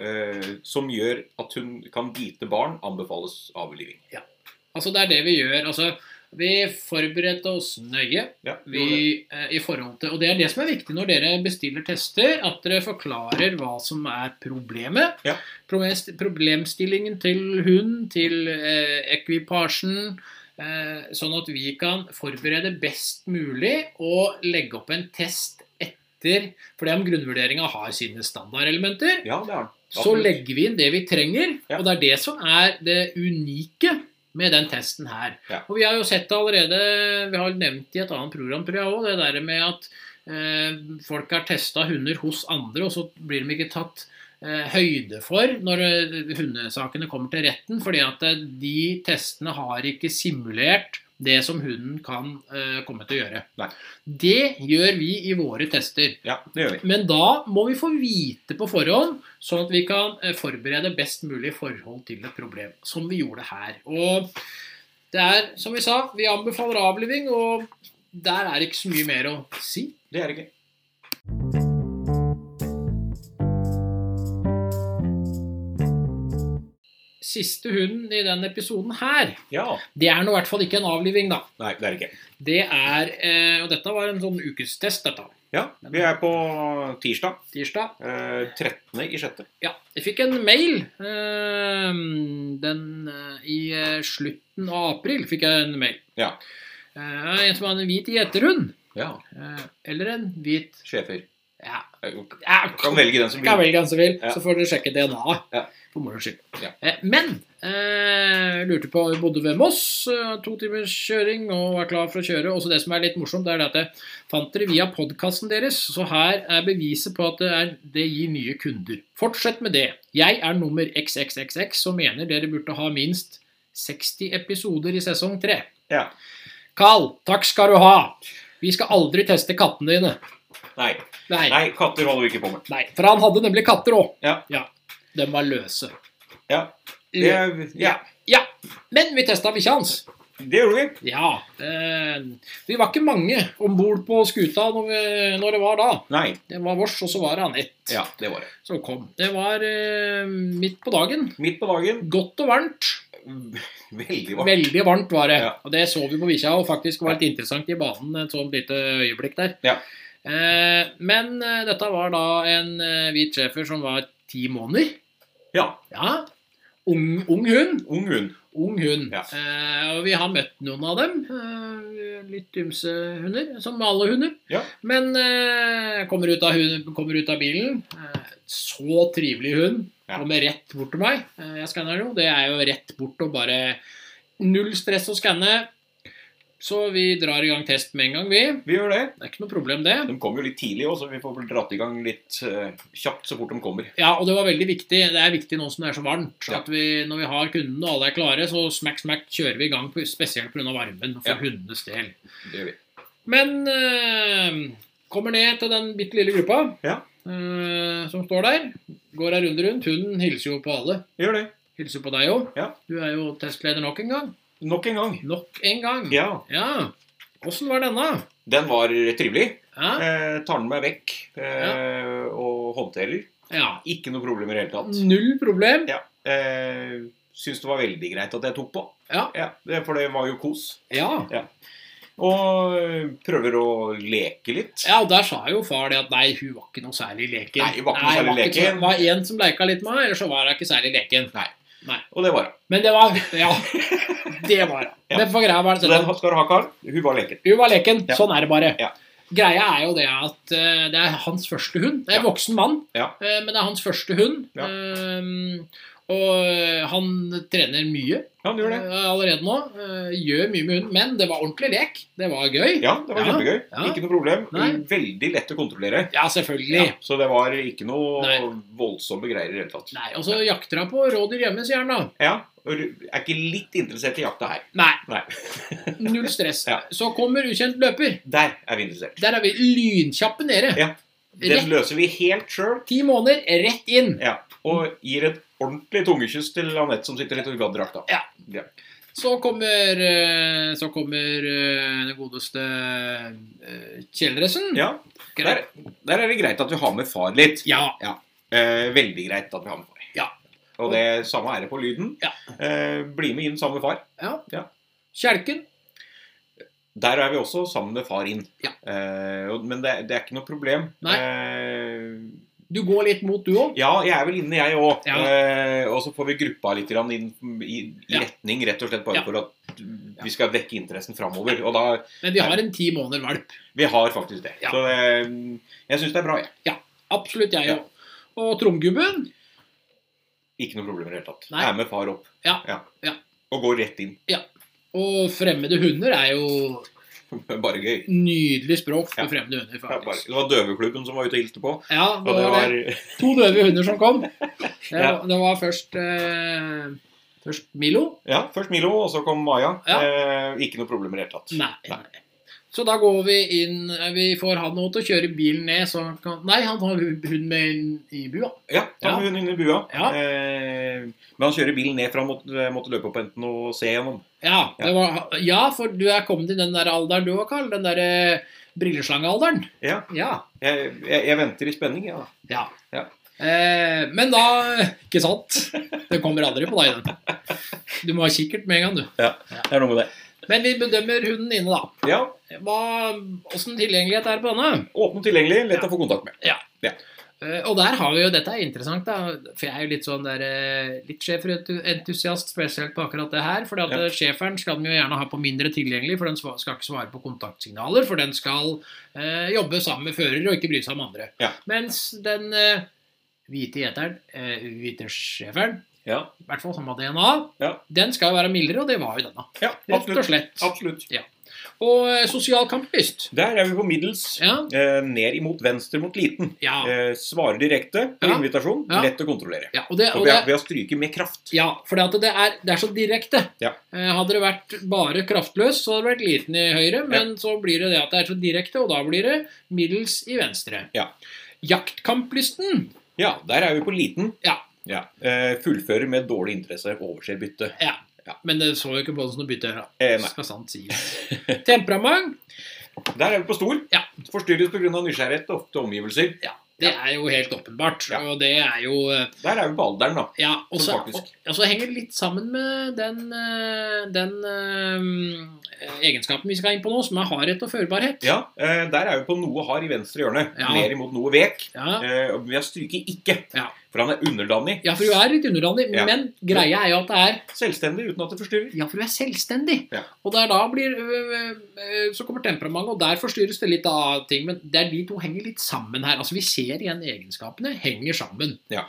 Speaker 1: eh, som gjør at hun kan bite barn, anbefales avliving.
Speaker 2: Altså Det er det vi gjør. altså Vi forberedte oss nøye
Speaker 1: Ja, vi gjorde det.
Speaker 2: vi, eh, i forhold til Og det er det som er viktig når dere bestiller tester, at dere forklarer hva som er problemet.
Speaker 1: Ja.
Speaker 2: Problemst- Problemstillingen til hund, til eh, ekvipasjen. Eh, sånn at vi kan forberede best mulig og legge opp en test etter For det er om grunnvurderinga har sine standardelementer.
Speaker 1: ja det er den.
Speaker 2: Så
Speaker 1: Absolutt.
Speaker 2: legger vi inn det vi trenger,
Speaker 1: Ja.
Speaker 2: og det er det som er det unike med den testen her.
Speaker 1: Ja.
Speaker 2: Og vi har jo sett det allerede, vi har nevnt i et annet program, tror jeg òg, det der med at eh, folk har testa hunder hos andre, og så blir de ikke tatt eh, høyde for når eh, hundesakene kommer til retten, fordi at eh, de testene har ikke simulert det som hunden kan eh, komme til å gjøre.
Speaker 1: Nei.
Speaker 2: Det gjør vi i våre tester.
Speaker 1: Ja, det gjør vi.
Speaker 2: Men da må vi få vite på forhånd, sånn at vi kan eh, forberede best mulig forhold til et problem, som vi gjorde her. Og det er, som vi sa, vi anbefaler avliving, og der er ikke så mye mer å si.
Speaker 1: Det er det ikke.
Speaker 2: Siste hunden i den episoden her,
Speaker 1: Ja.
Speaker 2: det er nå i hvert fall ikke en avliving, da.
Speaker 1: Nei, det er det ikke.
Speaker 2: Det er eh, Og dette var en sånn ukestest, dette.
Speaker 1: Ja, vi er på tirsdag.
Speaker 2: Tirsdag.
Speaker 1: Eh, 13. i sjette.
Speaker 2: Ja, jeg fikk en mail eh, den, eh, i eh, slutten av april. fikk jeg en mail.
Speaker 1: Ja.
Speaker 2: Eh, en som hadde en hvit gjeterhund.
Speaker 1: Ja.
Speaker 2: Eh, eller en hvit
Speaker 1: Sjefer.
Speaker 2: Ja.
Speaker 1: Du
Speaker 2: ja
Speaker 1: kan velge den som
Speaker 2: kan
Speaker 1: blir
Speaker 2: velge den som vil,
Speaker 1: Ja.
Speaker 2: så får dere sjekke DNA-et.
Speaker 1: Ja.
Speaker 2: For moro skyld.
Speaker 1: Ja.
Speaker 2: Eh, Men eh, lurte på Vi bodde ved Moss. Eh, to timers kjøring og var klar for å kjøre. Også det som er litt morsomt, det er det at jeg fant dere via podkasten deres. Så her er beviset på at det, er, det gir nye kunder. Fortsett med det. Jeg er nummer XXXX som mener dere burde ha minst 60 episoder i sesong 3.
Speaker 1: Ja.
Speaker 2: Carl, takk skal du ha. Vi skal aldri teste kattene dine.
Speaker 1: Nei.
Speaker 2: Nei.
Speaker 1: Nei, katter holder vi ikke på med.
Speaker 2: Nei, for han hadde nemlig katter òg.
Speaker 1: Ja.
Speaker 2: De var løse.
Speaker 1: Ja. Det, er- ja.
Speaker 2: Ja, Men vi testa bikkja hans.
Speaker 1: det gjorde vi.
Speaker 2: Ja. Eh, vi var ikke mange om bord på skuta når, vi, når det var da.
Speaker 1: Nei.
Speaker 2: Det var vårs, og så var det han ett
Speaker 1: Ja, det var det.
Speaker 2: som kom. Det var eh, midt på dagen.
Speaker 1: Midt på dagen.
Speaker 2: Godt og varmt.
Speaker 1: Veldig varmt.
Speaker 2: Veldig varmt var det.
Speaker 1: Ja.
Speaker 2: Og det så vi på bikkja, og faktisk var litt interessant i banen et sånt lite øyeblikk der.
Speaker 1: Ja.
Speaker 2: Eh, men eh, dette var da en eh, hvit schæfer som var ti måneder.
Speaker 1: Ja.
Speaker 2: Ja. Ung, ung hund.
Speaker 1: Ung hund.
Speaker 2: Ung hund.
Speaker 1: Ja.
Speaker 2: Eh, og vi har møtt noen av dem. Eh, litt ymse hunder, som alle hunder.
Speaker 1: Ja.
Speaker 2: Men eh, kommer, ut av hund, kommer ut av bilen. Eh, så trivelig hund.
Speaker 1: Ja.
Speaker 2: Kommer rett bort til meg. Eh, jeg skanner jo. Det er jo rett bort og bare null stress å skanne. Så vi drar i gang test med en gang, vi.
Speaker 1: Vi gjør det.
Speaker 2: Det er ikke noe problem, det.
Speaker 1: De kom jo litt tidlig òg, så vi får vel dratt i gang litt eh, kjapt så fort de kommer.
Speaker 2: Ja, og det var veldig viktig. Det er viktig nå som det er så varmt.
Speaker 1: Ja.
Speaker 2: At vi, når vi har kundene og alle er klare, så smack, smack kjører vi i gang, på- spesielt pga. varmen for
Speaker 1: Ja.
Speaker 2: hundenes del.
Speaker 1: Det gjør vi.
Speaker 2: Men eh, kommer ned til den bitte lille gruppa
Speaker 1: Ja.
Speaker 2: eh, som står der. Går ei runde rundt. Hunden hilser jo på alle.
Speaker 1: Vi Gjør det.
Speaker 2: Hilser på deg òg.
Speaker 1: Ja.
Speaker 2: Du er jo testleder nok en gang.
Speaker 1: Nok en gang.
Speaker 2: Nok en gang.
Speaker 1: Ja.
Speaker 2: Ja. Åssen var denne?
Speaker 1: Den var trivelig.
Speaker 2: Ja.
Speaker 1: Eh, tar den meg vekk eh, og håndterer.
Speaker 2: ja.
Speaker 1: Ikke noe problem i det hele tatt.
Speaker 2: Null problem.
Speaker 1: Ja. Eh, Syns det var veldig greit at jeg tok på.
Speaker 2: Ja.
Speaker 1: Ja, det- For det var jo kos.
Speaker 2: ja.
Speaker 1: Og eh, prøver å leke litt.
Speaker 2: Ja, og der sa jo far det at nei, hun var ikke noe særlig leken.
Speaker 1: Nei, hun var ikke noe særlig
Speaker 2: det var ikke
Speaker 1: leken.
Speaker 2: så- Det var en som leka litt med meg, ellers så var hun ikke særlig leken.
Speaker 1: Nei. Og det var hun.
Speaker 2: Men det var Ja. Det var hun.
Speaker 1: Ja.
Speaker 2: Men for greia var det
Speaker 1: Så
Speaker 2: sånn
Speaker 1: den
Speaker 2: at
Speaker 1: skal du ha, Karl. Hun var leken.
Speaker 2: hun var leken.
Speaker 1: Ja.
Speaker 2: Sånn er det bare.
Speaker 1: Ja.
Speaker 2: Greia er jo det at eh, det er hans første hund. Det er en
Speaker 1: Ja.
Speaker 2: voksen mann,
Speaker 1: Ja.
Speaker 2: eh, men det er hans første hund.
Speaker 1: Ja.
Speaker 2: Eh, og eh, han trener mye
Speaker 1: Ja, hun gjør det.
Speaker 2: eh, allerede nå. eh, gjør mye med hunden. Men det var ordentlig lek. Det var gøy.
Speaker 1: Ja, det var
Speaker 2: Ja,
Speaker 1: kjempegøy.
Speaker 2: ja.
Speaker 1: Ikke noe problem.
Speaker 2: Nei.
Speaker 1: Veldig lett å kontrollere.
Speaker 2: Ja, selvfølgelig.
Speaker 1: Ja, så det var ikke noe
Speaker 2: Nei.
Speaker 1: voldsomme greier i det hele tatt.
Speaker 2: Nei, Og så jakter hun på rådyr hjemme, sier han da.
Speaker 1: Ja, og du er ikke litt interessert i jakta her.
Speaker 2: Nei.
Speaker 1: Nei.
Speaker 2: Null stress.
Speaker 1: Ja.
Speaker 2: Så kommer ukjent løper.
Speaker 1: Der er vi interessert.
Speaker 2: Der er vi lynkjappe nede.
Speaker 1: Ja. Den
Speaker 2: Rett.
Speaker 1: løser vi helt sjøl,
Speaker 2: Ti måneder, rett inn.
Speaker 1: ja, og gir et ordentlig tungekyss til Anette som sitter litt i drakta.
Speaker 2: Så kommer, eh, så kommer eh, den godeste eh, kjeledressen.
Speaker 1: Ja, der,
Speaker 2: Greit.
Speaker 1: der er det greit at vi har med far litt.
Speaker 2: Ja.
Speaker 1: Eh, veldig greit at vi har med far.
Speaker 2: Ja.
Speaker 1: Og det samme er det på lyden.
Speaker 2: Ja.
Speaker 1: Eh, bli med inn sammen med far.
Speaker 2: Kjelken.
Speaker 1: Der er vi også sammen med far inn.
Speaker 2: Ja.
Speaker 1: Eh, og- men det, det er ikke noe problem.
Speaker 2: Nei.
Speaker 1: Eh,
Speaker 2: Du går litt mot du òg.
Speaker 1: Ja, jeg er vel inne, jeg òg.
Speaker 2: Ja.
Speaker 1: Eh, og så får vi gruppa litt grann inn i, i
Speaker 2: Ja.
Speaker 1: retning, rett og slett bare
Speaker 2: Ja.
Speaker 1: for at vi skal vekke interessen framover. Og da
Speaker 2: Men vi har en ti måneder valp.
Speaker 1: Vi har faktisk det.
Speaker 2: Ja.
Speaker 1: Så det, jeg syns det er bra, jeg.
Speaker 2: Absolutt jeg
Speaker 1: Ja.
Speaker 2: òg. Og tromgubben.
Speaker 1: Ikke noe problem i det hele tatt.
Speaker 2: Nei.
Speaker 1: Jeg er med far opp.
Speaker 2: Ja. Ja.
Speaker 1: Og går rett inn.
Speaker 2: Og fremmede hunder er jo
Speaker 1: Bare gøy.
Speaker 2: nydelig språk for
Speaker 1: Ja.
Speaker 2: fremmede hunder,
Speaker 1: Ja, bare.
Speaker 2: faktisk.
Speaker 1: Det var døveklubben som var ute og hilste på.
Speaker 2: Ja,
Speaker 1: Og
Speaker 2: det
Speaker 1: det
Speaker 2: var det.
Speaker 1: var
Speaker 2: To døve hunder som kom. Det var,
Speaker 1: Ja.
Speaker 2: det var først, eh, først Milo.
Speaker 1: Ja, først Milo, og så kom Maja.
Speaker 2: Ja.
Speaker 1: Eh, ikke noe problem i det hele tatt.
Speaker 2: Nei. nei. Så da går vi inn eh, Vi får han nå til å kjøre bilen ned, så han kan Nei, han har hun med inn i bua.
Speaker 1: Ja, da var hun inne i bua.
Speaker 2: Ja.
Speaker 1: Eh, men han kjører bilen ned, for han måtte, måtte løpe opp enten og se gjennom.
Speaker 2: Ja, det var, ja, for du er kommet i den der alderen du òg, Karl. Den derre brilleslangealderen.
Speaker 1: Ja.
Speaker 2: Ja.
Speaker 1: Jeg, jeg, jeg venter i spenning, ja.
Speaker 2: ja.
Speaker 1: Ja.
Speaker 2: Eh, men da Ikke sant? Den kommer aldri på deg, den. Du må ha kikkert med en gang, du.
Speaker 1: Det er noe med det.
Speaker 2: Men vi bedømmer hunden inne, da.
Speaker 1: Ja,
Speaker 2: Hva, Åssen tilgjengelighet er det på denne?
Speaker 1: Åpne og tilgjengelig, lett å få kontakt med.
Speaker 2: Eh, Og der har vi jo, dette er interessant, da, for jeg er jo litt sånn der eh, litt schæferentusiast spesielt på akkurat det her. For
Speaker 1: Ja.
Speaker 2: schæferen skal den jo gjerne ha på mindre tilgjengelig, for den sva- skal ikke svare på kontaktsignaler. For den skal eh, jobbe sammen med fører og ikke bry seg om andre.
Speaker 1: Ja.
Speaker 2: Mens den eh, hvite gjeteren, eh, hvite schæferen,
Speaker 1: Ja,
Speaker 2: i hvert fall samme DNA,
Speaker 1: ja,
Speaker 2: den skal jo være mildere, og det var jo denne.
Speaker 1: ja
Speaker 2: Rett og
Speaker 1: absolutt.
Speaker 2: slett.
Speaker 1: absolutt.
Speaker 2: Og eh, sosial kamplyst.
Speaker 1: Der er vi på middels.
Speaker 2: Ja.
Speaker 1: Eh, ned imot venstre mot liten.
Speaker 2: Ja.
Speaker 1: Eh, svarer direkte på
Speaker 2: Ja.
Speaker 1: invitasjon.
Speaker 2: Ja.
Speaker 1: Lett å kontrollere.
Speaker 2: ja. Og det,
Speaker 1: Så
Speaker 2: og
Speaker 1: vi
Speaker 2: det,
Speaker 1: har, vi har stryket med kraft.
Speaker 2: Ja, for det, er, det er så direkte.
Speaker 1: Ja.
Speaker 2: Eh, Hadde det vært bare kraftløs, så hadde det vært liten i høyre, men så blir det det at det er så direkte, og da blir det middels i venstre.
Speaker 1: Ja.
Speaker 2: Jaktkamplysten.
Speaker 1: Ja, der er vi på liten.
Speaker 2: Ja.
Speaker 1: Eh, fullfører med dårlig interesse, overser bytte.
Speaker 2: Ja. Men det så jo ikke på det som noe bytte. da.
Speaker 1: Eh, nei.
Speaker 2: Skal sant sies. Temperament.
Speaker 1: Der er vi på stor.
Speaker 2: Ja.
Speaker 1: Forstyrres pga. nysgjerrighet og ofte omgivelser.
Speaker 2: Det er jo helt åpenbart.
Speaker 1: Ja.
Speaker 2: Og det er jo eh,
Speaker 1: Der er vi på alderen, da.
Speaker 2: Ja, og så,
Speaker 1: Som
Speaker 2: og,
Speaker 1: faktisk.
Speaker 2: og så henger det litt sammen med den, eh, den eh, egenskapen vi skal inn på nå, som er hardhet og førbarhet.
Speaker 1: Ja, eh, Der er vi på noe hard i venstre hjørne.
Speaker 2: Ja.
Speaker 1: Mer imot noe vek.
Speaker 2: Ja.
Speaker 1: Eh, og vi har stryket ikke,
Speaker 2: Ja.
Speaker 1: for han er underdanig.
Speaker 2: Ja, for du er litt underlandig,
Speaker 1: Ja.
Speaker 2: men greia er jo at det er
Speaker 1: Selvstendig uten at det forstyrrer.
Speaker 2: Ja, for du er selvstendig.
Speaker 1: Ja.
Speaker 2: Og det er da blir øh, øh, Så kommer temperamentet, og der forstyrres det litt av ting. Men der de to henger litt sammen her. Altså Vi ser igjen egenskapene henger sammen.
Speaker 1: Ja.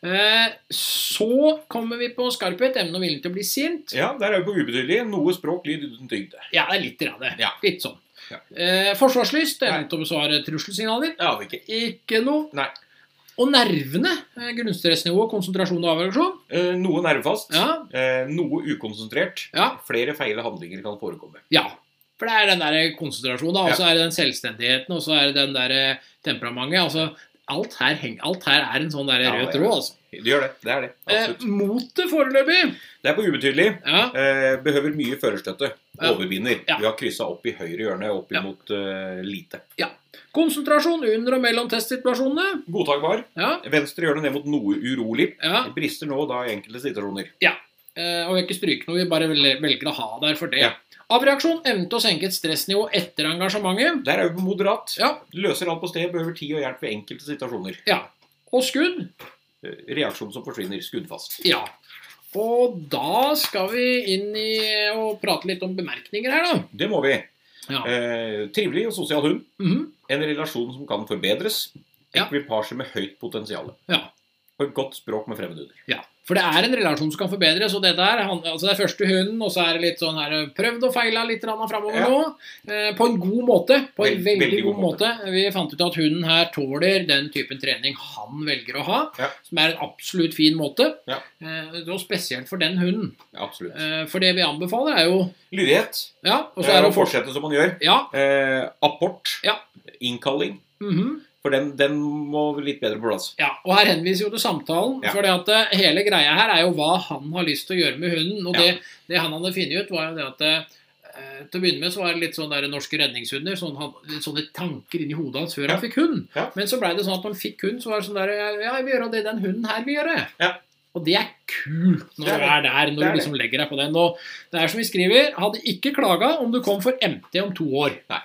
Speaker 2: Eh, så kommer vi på skarphet, evne og vilje til å bli sint.
Speaker 1: Ja, Der er vi på ubetydelig. Noe språk, lyd uten tyngde.
Speaker 2: Ja, det er litt av det.
Speaker 1: Ja.
Speaker 2: Litt sånn.
Speaker 1: Ja.
Speaker 2: Eh, forsvarslyst,
Speaker 1: Nei.
Speaker 2: evne til å besvare trusselsignaler.
Speaker 1: Ja, det er ikke.
Speaker 2: Ikke noe.
Speaker 1: Nei.
Speaker 2: Og nervene. eh, Grunnstressnivå, konsentrasjon og avreaksjon.
Speaker 1: Eh, noe nervefast.
Speaker 2: Ja.
Speaker 1: Eh, noe ukonsentrert.
Speaker 2: ja.
Speaker 1: Flere feil handlinger kan forekomme.
Speaker 2: Ja. For det er den der konsentrasjonen, da, og så er det den selvstendigheten, og så er det den der eh, temperamentet. altså Alt her, heng, alt her er en sånn der
Speaker 1: Ja,
Speaker 2: rød
Speaker 1: det er
Speaker 2: tråd, altså.
Speaker 1: Det gjør det. Det er det.
Speaker 2: Eh,
Speaker 1: Absolutt.
Speaker 2: motet foreløpig
Speaker 1: Det er på ubetydelig.
Speaker 2: ja,
Speaker 1: Eh, behøver mye førerstøtte.
Speaker 2: Ja.
Speaker 1: Overbinder.
Speaker 2: Ja.
Speaker 1: Vi har kryssa opp i høyre hjørne, opp
Speaker 2: Ja.
Speaker 1: imot eh, lite.
Speaker 2: Konsentrasjon under og mellom testsituasjonene.
Speaker 1: Godtakbar.
Speaker 2: Ja,
Speaker 1: Venstre hjørne ned mot noe urolig.
Speaker 2: ja.
Speaker 1: Det brister nå og da i enkelte situasjoner.
Speaker 2: Eh, og ikke stryke noe, vi bare vel- velger å ha der for det.
Speaker 1: Ja.
Speaker 2: Avreaksjon evne til å senke et stressnivå etter engasjementet.
Speaker 1: Der er vi på moderat.
Speaker 2: Ja.
Speaker 1: Løser alt på stedet, behøver tid og hjelp ved enkelte situasjoner.
Speaker 2: ja. Og skudd.
Speaker 1: Eh, Reaksjon som forsvinner. Skuddfast.
Speaker 2: Ja. Og da skal vi inn i å prate litt om bemerkninger her, da.
Speaker 1: Det må vi.
Speaker 2: Ja.
Speaker 1: Eh, trivelig og sosial hund.
Speaker 2: Mhm.
Speaker 1: En relasjon som kan forbedres.
Speaker 2: Ja.
Speaker 1: Ekvipasje med høyt potensial.
Speaker 2: ja.
Speaker 1: Og et godt språk med fremmedhunder.
Speaker 2: Ja, for det er en relasjon som kan forbedres. og dette her, han, altså Det er første hunden, og så er det litt sånn her prøvd og feila litt framover
Speaker 1: Ja.
Speaker 2: nå. Eh, på en god måte. På en
Speaker 1: Vel-
Speaker 2: veldig, god måte. Vi fant ut at hunden her tåler den typen trening han velger å ha,
Speaker 1: Ja.
Speaker 2: som er en absolutt fin måte.
Speaker 1: Ja.
Speaker 2: Eh, og spesielt for den hunden.
Speaker 1: Absolutt.
Speaker 2: Eh, for det vi anbefaler, er jo
Speaker 1: Lydighet.
Speaker 2: Ja, og så
Speaker 1: Eh,
Speaker 2: er det
Speaker 1: å fortsette som man gjør.
Speaker 2: Ja.
Speaker 1: Eh, apport.
Speaker 2: Ja.
Speaker 1: Innkalling.
Speaker 2: mhm.
Speaker 1: For den, den må litt bedre på plass.
Speaker 2: Ja, og her henviser jo til samtalen,
Speaker 1: Ja.
Speaker 2: for at eh, hele greia her er jo hva han har lyst til å gjøre med hunden. Og
Speaker 1: Ja.
Speaker 2: det, det han hadde funnet ut, var jo det at eh, til å begynne med så var det litt sånn der norske redningshunder, sånn, han, litt sånne tanker inni hodet hans før
Speaker 1: Ja.
Speaker 2: han fikk hund.
Speaker 1: Ja.
Speaker 2: Men så blei det sånn at når han fikk hund, så var det sånn der Ja, jeg vil gjøre det den hunden her vil gjøre.
Speaker 1: Ja.
Speaker 2: Og det er kult når
Speaker 1: Det er
Speaker 2: du er der, når
Speaker 1: Det er
Speaker 2: du liksom legger deg på den. Og det er som vi skriver, hadde ikke klaga om du kom for MT om to år.
Speaker 1: Nei.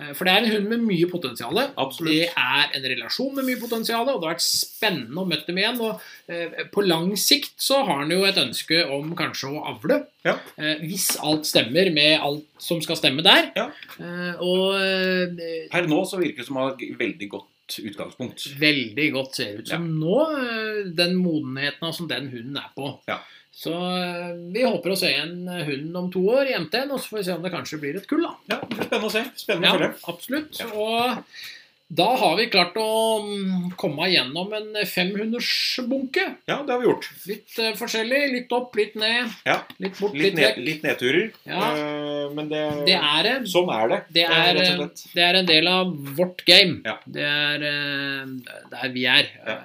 Speaker 2: Eh, For det er en hund med mye potensial.
Speaker 1: Absolutt.
Speaker 2: Det er en relasjon med mye potensial, og det har vært spennende å møte dem igjen. Og eh, på lang sikt så har han jo et ønske om kanskje å avle.
Speaker 1: Ja.
Speaker 2: Eh, hvis alt stemmer med alt som skal stemme der.
Speaker 1: Ja.
Speaker 2: Eh, og eh,
Speaker 1: Per nå så virker det som han har et veldig godt utgangspunkt.
Speaker 2: veldig godt ser ut som nå, eh, den modenheten som den hunden er på.
Speaker 1: Ja.
Speaker 2: Så eh, vi håper å se igjen hunden om to år i MT-en, og så får vi se om det kanskje blir et kull, da.
Speaker 1: Ja, det blir Spennende å se. Spennende
Speaker 2: Ja,
Speaker 1: å følge.
Speaker 2: absolutt.
Speaker 1: Ja.
Speaker 2: Og da har vi klart å mm, komme gjennom en 500-bunke.
Speaker 1: Ja, det har vi gjort.
Speaker 2: Litt eh, forskjellig. Litt opp, litt ned,
Speaker 1: Ja.
Speaker 2: litt bort,
Speaker 1: Litt,
Speaker 2: litt,
Speaker 1: ned,
Speaker 2: vekk.
Speaker 1: litt nedturer.
Speaker 2: Ja.
Speaker 1: Eh, men det,
Speaker 2: Det er det.
Speaker 1: Sånn er det.
Speaker 2: Det er, eh,
Speaker 1: rett og slett.
Speaker 2: Det er en del av vårt game.
Speaker 1: Ja.
Speaker 2: Det er eh, der vi er.
Speaker 1: Ja.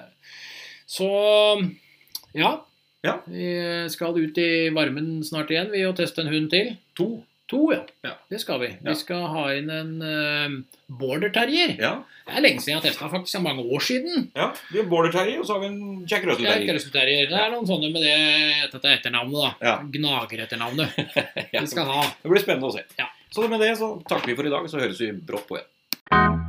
Speaker 2: Så ja.
Speaker 1: Ja.
Speaker 2: Vi skal ut i varmen snart igjen vi, og teste en hund til.
Speaker 1: To.
Speaker 2: To, ja.
Speaker 1: Ja.
Speaker 2: Det skal vi.
Speaker 1: Ja.
Speaker 2: Vi skal ha inn en eh, border terrier.
Speaker 1: Ja.
Speaker 2: Det er lenge siden jeg har testa, faktisk. Det er mange år siden.
Speaker 1: ja. Vi har Border Terry, og så har vi en Jack Russell
Speaker 2: Ja,
Speaker 1: Terry.
Speaker 2: Krøsselterrier. Det er noen sånne med det dette etternavnet, da.
Speaker 1: Ja.
Speaker 2: Gnageretternavnet
Speaker 1: Ja.
Speaker 2: vi skal ha.
Speaker 1: Det blir spennende å se.
Speaker 2: Ja.
Speaker 1: Så med det så takker vi for i dag, så høres vi brått på igjen.